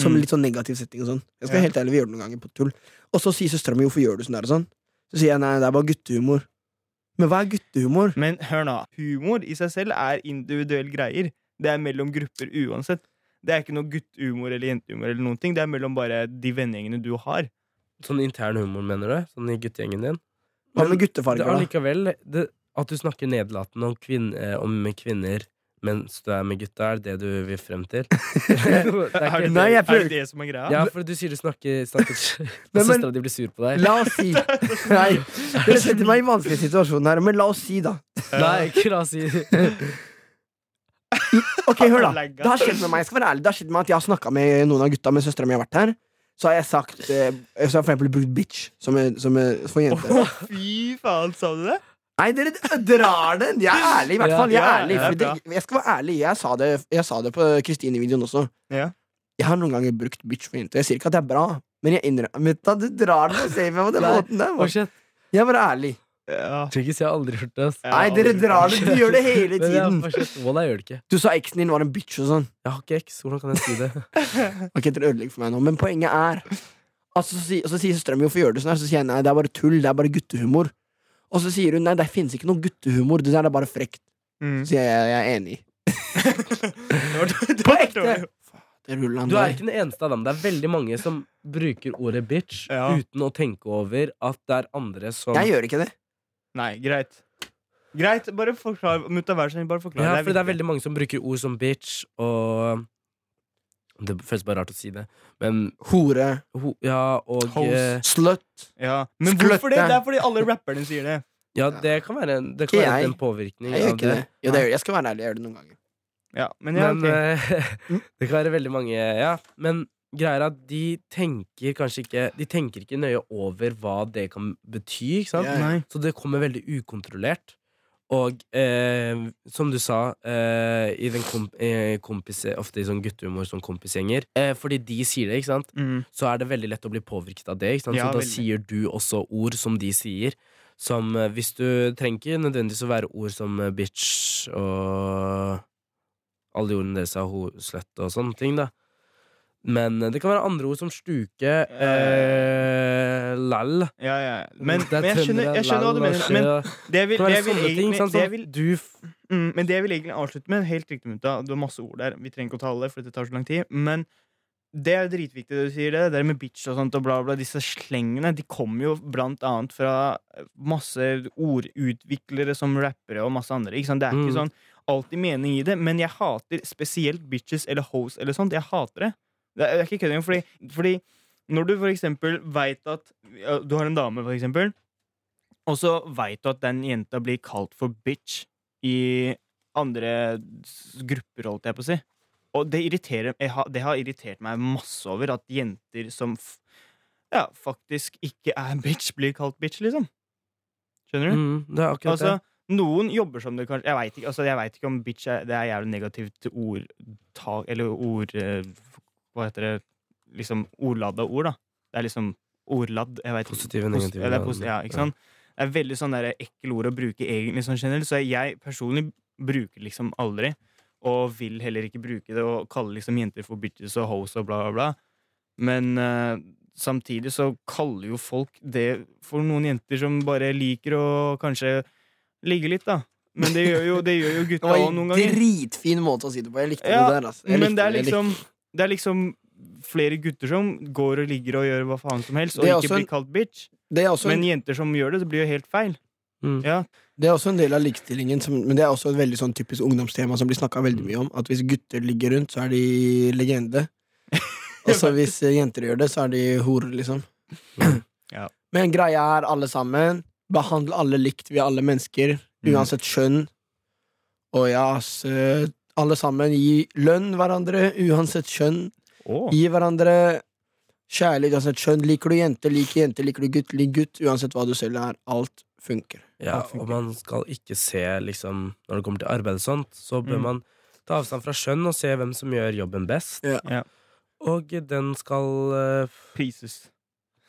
Speaker 4: Som
Speaker 2: Mm.
Speaker 4: litt sånn negativ setting og sånn. Jeg skal
Speaker 2: Ja.
Speaker 4: være helt ærlig, vi gjør det noen ganger på tull. Og så sier søstera mi 'hvorfor gjør du sånn der' og sånn. Så sier jeg nei, det er bare guttehumor. Men hva er guttehumor?
Speaker 2: Men hør nå, humor i seg selv er individuelle greier. Det er mellom grupper uansett. Det er ikke noe gutthumor eller jentehumor eller noen ting. Det er mellom bare de vennegjengene du har.
Speaker 3: Sånn intern humor, mener du? Sånn i guttegjengen din?
Speaker 4: Hva med
Speaker 3: Det
Speaker 4: guttefarger,
Speaker 3: er
Speaker 4: da?
Speaker 3: likevel det, At du snakker nedlatende om, kvinn- eh, om kvinner mens du er med gutta, er det det du vil
Speaker 4: (laughs)
Speaker 3: frem til? (laughs) det er
Speaker 2: Er det,
Speaker 3: ikke,
Speaker 4: Nei, jeg
Speaker 2: er
Speaker 4: prøver-
Speaker 2: det det som er greia?
Speaker 3: ja, for du sier du snakker,
Speaker 4: (laughs)
Speaker 3: snakker (laughs)
Speaker 4: men-
Speaker 3: Søstera di blir sur på deg.
Speaker 4: La oss si (laughs) Nei, dere setter meg i en vanskelig situasjon her, men la oss si, da.
Speaker 3: (laughs) Nei, ikke la oss si
Speaker 4: (laughs) Ok, hør da Det har skjedd med meg, jeg skal være ærlig Det har skjedd med meg at jeg har snakket med noen av gutta Med søsteren min har vært her Så har jeg sagt eh, Så har jeg for eksempel brukt bitch Som, er- som er- for jenter
Speaker 2: Å, fy faen, sa du det?
Speaker 4: Nei, dere d- drar den Jeg er ærlig i hvert
Speaker 3: Ja,
Speaker 4: fall Jeg
Speaker 2: ja,
Speaker 4: er ærlig
Speaker 2: ja,
Speaker 4: fordi
Speaker 2: bra.
Speaker 4: det- Jeg skal være ærlig Jeg sa det, jeg sa det på Kristine-videoen også
Speaker 2: Ja.
Speaker 4: Jeg har noen ganger brukt bitch for jenter Jeg sier ikke at det er bra Men jeg innrømmer Men da, du drar den og ser meg på den
Speaker 3: Nei.
Speaker 4: måten der
Speaker 3: Å,
Speaker 4: hva?
Speaker 3: shit.
Speaker 4: Jeg var ærlig
Speaker 2: Ja.
Speaker 3: Tryggis, jeg har aldri hørt det. ass.
Speaker 2: Jeg
Speaker 4: Nei,
Speaker 2: har
Speaker 4: dere
Speaker 2: aldri-
Speaker 4: drar den Du gjør det hele
Speaker 3: Men jeg,
Speaker 4: tiden
Speaker 3: å, shit, Walla, jeg gjør det ikke.
Speaker 4: Du sa eksen din var en bitch og sånn (laughs)
Speaker 3: Jeg har ikke eks. Hvordan kan jeg si det?
Speaker 4: Ok, dere ødelegger for meg nå, men poenget er Altså, så, si- og så sier søstera mi hvorfor gjør du sånn her? Så sier jeg nei, det er bare tull. Det er bare guttehumor. Og så sier hun nei, det finnes ikke noe guttehumor. Det der er bare frekt.
Speaker 2: Mm.
Speaker 3: (laughs)
Speaker 4: Så sier jeg jeg er enig.
Speaker 2: (laughs) På ekte!
Speaker 4: Det ruller han
Speaker 3: Du er
Speaker 4: der.
Speaker 3: ikke den eneste av dem. Det er veldig mange som bruker ordet bitch
Speaker 2: Ja.
Speaker 3: uten å tenke over at det er andre som
Speaker 4: Jeg gjør ikke det.
Speaker 2: Nei, greit. Greit, bare forklar. Mutta, vær så snill, bare forklar.
Speaker 3: Ja, for det er
Speaker 2: viktig.
Speaker 3: veldig mange som bruker ord som bitch og Det føles bare rart å si det, men
Speaker 4: Hore.
Speaker 3: ho, Ja, og
Speaker 2: Hoes.
Speaker 3: eh,
Speaker 4: Slut.
Speaker 2: ja. Men
Speaker 4: Skløtte.
Speaker 2: hvorfor det? Det er fordi alle rapperne sier det.
Speaker 3: Ja, det kan være en, det kan
Speaker 4: Ikke
Speaker 3: være
Speaker 4: jeg.
Speaker 3: en påvirkning.
Speaker 4: Jeg gjør
Speaker 3: av
Speaker 4: ikke det. Jo, det gjør jeg. Jeg skal være ærlig. Jeg gjør det noen ganger.
Speaker 2: Ja, men ja,
Speaker 3: Men
Speaker 2: ok.
Speaker 3: eh, (laughs) det kan være veldig mange Ja, men greier at de tenker kanskje ikke De tenker ikke nøye over hva det kan bety, ikke sant?
Speaker 4: Ja, ja.
Speaker 2: Nei.
Speaker 3: Så det kommer veldig ukontrollert. Og eh, som du sa, eh, i den komp eh, kompis, ofte i sånn guttehumor som kompisgjenger eh, Fordi de sier det, ikke sant,
Speaker 2: Mm.
Speaker 3: så er det veldig lett å bli påvirket av det. Ikke sant?
Speaker 2: Ja,
Speaker 3: så da
Speaker 2: veldig.
Speaker 3: sier du også ord som de sier. Som eh, hvis du trenger ikke nødvendigvis å være ord som eh, bitch og alle de ordene deres er ho sløtt og sånne ting, da. Men eh, det kan være andre ord som sluke, eh, lall
Speaker 2: Ja, ja. Men,
Speaker 3: Det er
Speaker 2: men jeg, skjønner,
Speaker 3: trøndere,
Speaker 2: jeg skjønner hva du
Speaker 3: lall og
Speaker 2: mener. Men
Speaker 3: sjø.
Speaker 2: det jeg
Speaker 3: Det
Speaker 2: vil,
Speaker 3: kan
Speaker 2: det
Speaker 3: være
Speaker 2: jeg vil,
Speaker 3: sånne ting.
Speaker 2: egentlig,
Speaker 3: sant,
Speaker 2: det
Speaker 3: som
Speaker 2: jeg vil,
Speaker 3: du f-
Speaker 2: mm, men det jeg vil egentlig avslutte med, helt riktig, Mutta, du har masse ord der, vi trenger ikke å tale, for det tar så lang tid, men det er jo dritviktig det du sier, det der med bitch og sånt og bla, bla. Disse slengene de kommer jo blant annet fra eh, masse ordutviklere som rappere og masse andre. Ikke sant? Det er ikke
Speaker 3: Mm.
Speaker 2: sånn alltid mening i det, men jeg hater spesielt bitches eller hoes eller sånt. Jeg hater det. Det er, det er ikke kødd engang, fordi, fordi når du for eksempel veit at ja, Du har en dame, for eksempel, og så veit du at den jenta blir kalt for bitch i andre s- grupper, holdt jeg på å si. Og det, irriterer, jeg har, det har irritert meg masse over at jenter som f ja, faktisk ikke er (laughs) bitch, blir kalt bitch, liksom. Skjønner du?
Speaker 3: mm, Det er akkurat
Speaker 2: Hm? altså, noen jobber som det kanskje Jeg veit ikke, altså, jeg vet ikke om bitch er, det er jævlig negativt ordtak Eller ord eh, Hva heter det? Liksom ordladda ord, da. Det er liksom ordladd. Jeg
Speaker 3: det.
Speaker 2: vet,
Speaker 3: Positive og
Speaker 2: Posi-
Speaker 3: negative.
Speaker 2: ja, det er posi- ja, ikke sant? Det er veldig sånn der ekkel ord å bruke egentlig sånn generelt, så jeg personlig bruker liksom aldri, og vil heller ikke bruke det, og kalle liksom jenter for bitches og hoes og bla, bla, bla. Men eh, samtidig så kaller jo folk det for noen jenter som bare liker å kanskje ligge litt, da. Men det gjør jo, det gjør
Speaker 4: (laughs)
Speaker 2: jo
Speaker 4: Det
Speaker 2: gutta
Speaker 4: var en
Speaker 2: òg noen ganger.
Speaker 4: dritfin måte å si det på. Jeg likte
Speaker 2: Ja,
Speaker 4: det der. Altså. Jeg
Speaker 2: Men
Speaker 4: likte
Speaker 2: det er
Speaker 4: jeg likte
Speaker 2: liksom Det er liksom flere gutter som går og ligger og gjør hva faen som helst, og
Speaker 4: Det er
Speaker 2: ikke
Speaker 4: også en-
Speaker 2: blir kalt bitch.
Speaker 4: Det er, også
Speaker 2: Men
Speaker 4: en,
Speaker 2: jenter som gjør det, det blir jo helt feil.
Speaker 3: Mm.
Speaker 2: Ja.
Speaker 4: det er også en del av likestillingen, som, men det er også et veldig sånn typisk ungdomstema som blir snakka veldig mye om. At hvis gutter ligger rundt, så er de
Speaker 2: (laughs)
Speaker 4: legende. Og så hvis eh, jenter gjør det, så er de horer, liksom.
Speaker 2: Mm. Ja.
Speaker 4: (clears throat) Men greia er, alle sammen, behandle alle likt. Vi er alle mennesker,
Speaker 2: Mm.
Speaker 4: uansett kjønn. Og ja, ass, eh, alle sammen, gi lønn hverandre, uansett kjønn.
Speaker 2: Åh.
Speaker 4: Gi hverandre kjærlighet, uansett kjønn. Liker du jente, lik jente. Liker du gutt, lik gutt. Uansett hva du selv er. Alt funker.
Speaker 3: Ja,
Speaker 2: Alt funker.
Speaker 3: og man skal ikke se, liksom, når det kommer til arbeid og sånt, så bør
Speaker 2: Mm.
Speaker 3: man ta avstand fra skjønn og se hvem som gjør jobben best.
Speaker 4: Ja.
Speaker 2: Ja.
Speaker 3: Og den skal eh, f-
Speaker 2: Prises.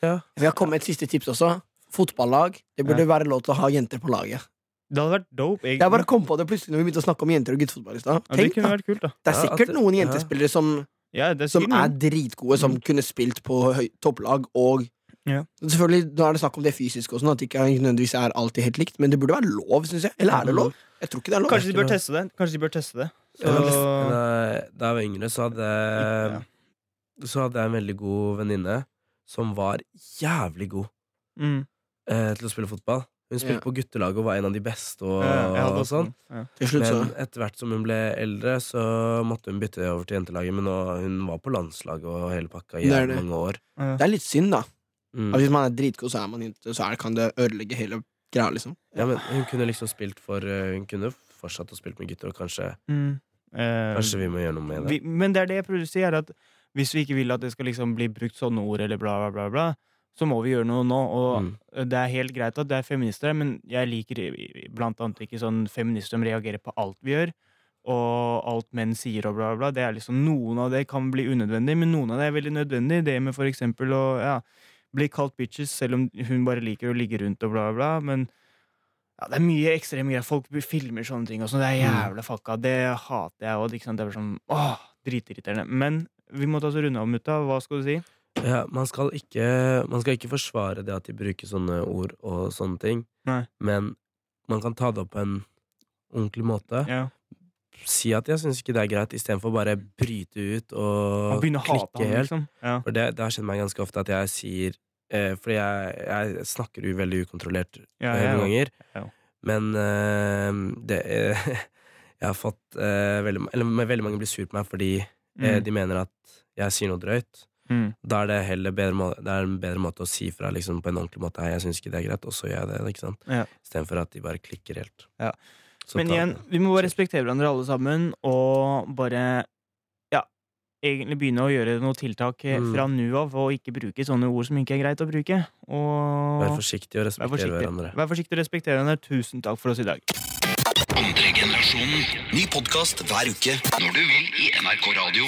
Speaker 4: Vi har kommet med et siste tips også. Fotballag. Det burde være lov til å ha jenter på laget.
Speaker 2: Det hadde vært dope, egentlig.
Speaker 4: Jeg bare kom på det plutselig når vi begynte å snakke om jenter og guttefotball i stad.
Speaker 2: ja, det
Speaker 4: Tenk,
Speaker 2: kunne
Speaker 4: da.
Speaker 2: vært kult, da.
Speaker 4: Det er
Speaker 3: Ja, at
Speaker 4: sikkert
Speaker 3: det-
Speaker 4: noen
Speaker 3: ja.
Speaker 4: jentespillere som,
Speaker 2: Ja, det er
Speaker 4: som
Speaker 2: sikkert
Speaker 4: er
Speaker 2: noen.
Speaker 4: dritgode, som kunne spilt på høy, topplag og
Speaker 2: Ja.
Speaker 4: Selvfølgelig, Da er det snakk om det fysiske, og sånn, at det ikke nødvendigvis er alltid helt likt. Men det burde være lov, syns jeg. Eller er det lov? Jeg tror ikke det er lov.
Speaker 2: Kanskje de bør teste det. Kanskje de bør teste det. Så,
Speaker 3: Men, eh, Da jeg var yngre, så
Speaker 4: Eh,
Speaker 3: hadde,
Speaker 2: Ja.
Speaker 3: så hadde jeg en veldig god venninne som var jævlig god
Speaker 2: mm.
Speaker 3: eh, til å spille fotball. Hun spilte
Speaker 4: Ja.
Speaker 3: på guttelaget og var en av de beste. Og,
Speaker 2: ja, jeg hadde
Speaker 3: og
Speaker 2: også
Speaker 3: sånn
Speaker 2: den. Ja.
Speaker 4: Til slutt, så.
Speaker 3: Men etter hvert som hun ble eldre, så måtte hun bytte over til jentelaget. Men nå, hun var på landslaget og hele pakka i
Speaker 4: Det er
Speaker 3: jævlig
Speaker 4: det.
Speaker 3: mange år.
Speaker 2: Ja.
Speaker 4: Det er litt synd, da.
Speaker 3: Mm.
Speaker 4: At hvis man er dritgod, så er man ikke Så er, kan det ødelegge hele greia, liksom.
Speaker 3: Ja, men hun kunne liksom spilt for eh, Hun kunne fortsatt å spille med gutter, og kanskje,
Speaker 2: Mm. Eh,
Speaker 3: kanskje vi må gjøre noe med det.
Speaker 2: vi, men det er det jeg prøver å si, er at hvis vi ikke vil at det skal liksom bli brukt sånne ord, eller bla, bla, bla, bla så må vi gjøre noe nå. Og
Speaker 3: Mm.
Speaker 2: Eh, det er helt greit at det er feminister her, men jeg liker i- i- blant annet ikke sånn feminister som reagerer på alt vi gjør, og alt menn sier og bla, bla, bla. Det er liksom, noen av det kan bli unødvendig, men noen av det er veldig nødvendig. Det med for eksempel å ja, bli kalt bitches, selv om hun bare liker å ligge rundt og bla, bla, bla. Men ja, det er mye ekstreme greier. Folk filmer sånne ting og sånn. Det er
Speaker 3: Mm.
Speaker 2: jævla fucka. Det hater jeg òg. Det er bare sånn, åh, dritirriterende. Men vi må ta oss og runde av, mutta. Hva skal du si?
Speaker 3: Ja, man, skal ikke, man skal ikke forsvare det at de bruker sånne ord og sånne ting,
Speaker 2: Nei.
Speaker 3: men man kan ta det opp på en ordentlig måte.
Speaker 2: Ja.
Speaker 3: Si at jeg syns ikke det er greit, istedenfor bare bryte ut og
Speaker 2: Han begynner å hate ham, liksom. Ja.
Speaker 3: For det, det har skjedd meg ganske ofte at jeg sier eh, Fordi jeg, jeg snakker jo veldig ukontrollert
Speaker 2: Ja,
Speaker 3: eh,
Speaker 2: jeg
Speaker 3: noen ganger.
Speaker 2: Jeg òg.
Speaker 3: Men eh, det eh, (laughs) Jeg har fått eh, veldig, ma- Eller men veldig mange blir sur på meg fordi eh,
Speaker 2: Mm.
Speaker 3: de mener at jeg sier noe drøyt.
Speaker 2: Mm.
Speaker 3: Da er det heller bedre, må- det er en bedre måte å si fra liksom, på en ordentlig måte. Hei, jeg syns ikke det er greit, og så gjør jeg det. ikke sant?
Speaker 2: Ja.
Speaker 3: Istedenfor at de bare klikker helt.
Speaker 2: Ja.
Speaker 3: Så
Speaker 2: Men
Speaker 3: ta-
Speaker 2: igjen, vi må bare respektere hverandre alle sammen, og bare ja, egentlig begynne å gjøre noen tiltak eh,
Speaker 3: Mm.
Speaker 2: fra nå av, og ikke bruke sånne ord som ikke er greit å bruke. Og
Speaker 3: Vær forsiktig og respekter
Speaker 2: vær forsiktig.
Speaker 3: hverandre.
Speaker 2: Vær forsiktig og respekter hverandre. Tusen takk for oss i dag.
Speaker 1: Andre generasjonen. Ny podkast hver uke når du vil i NRK Radio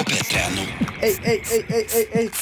Speaker 1: og P3.no.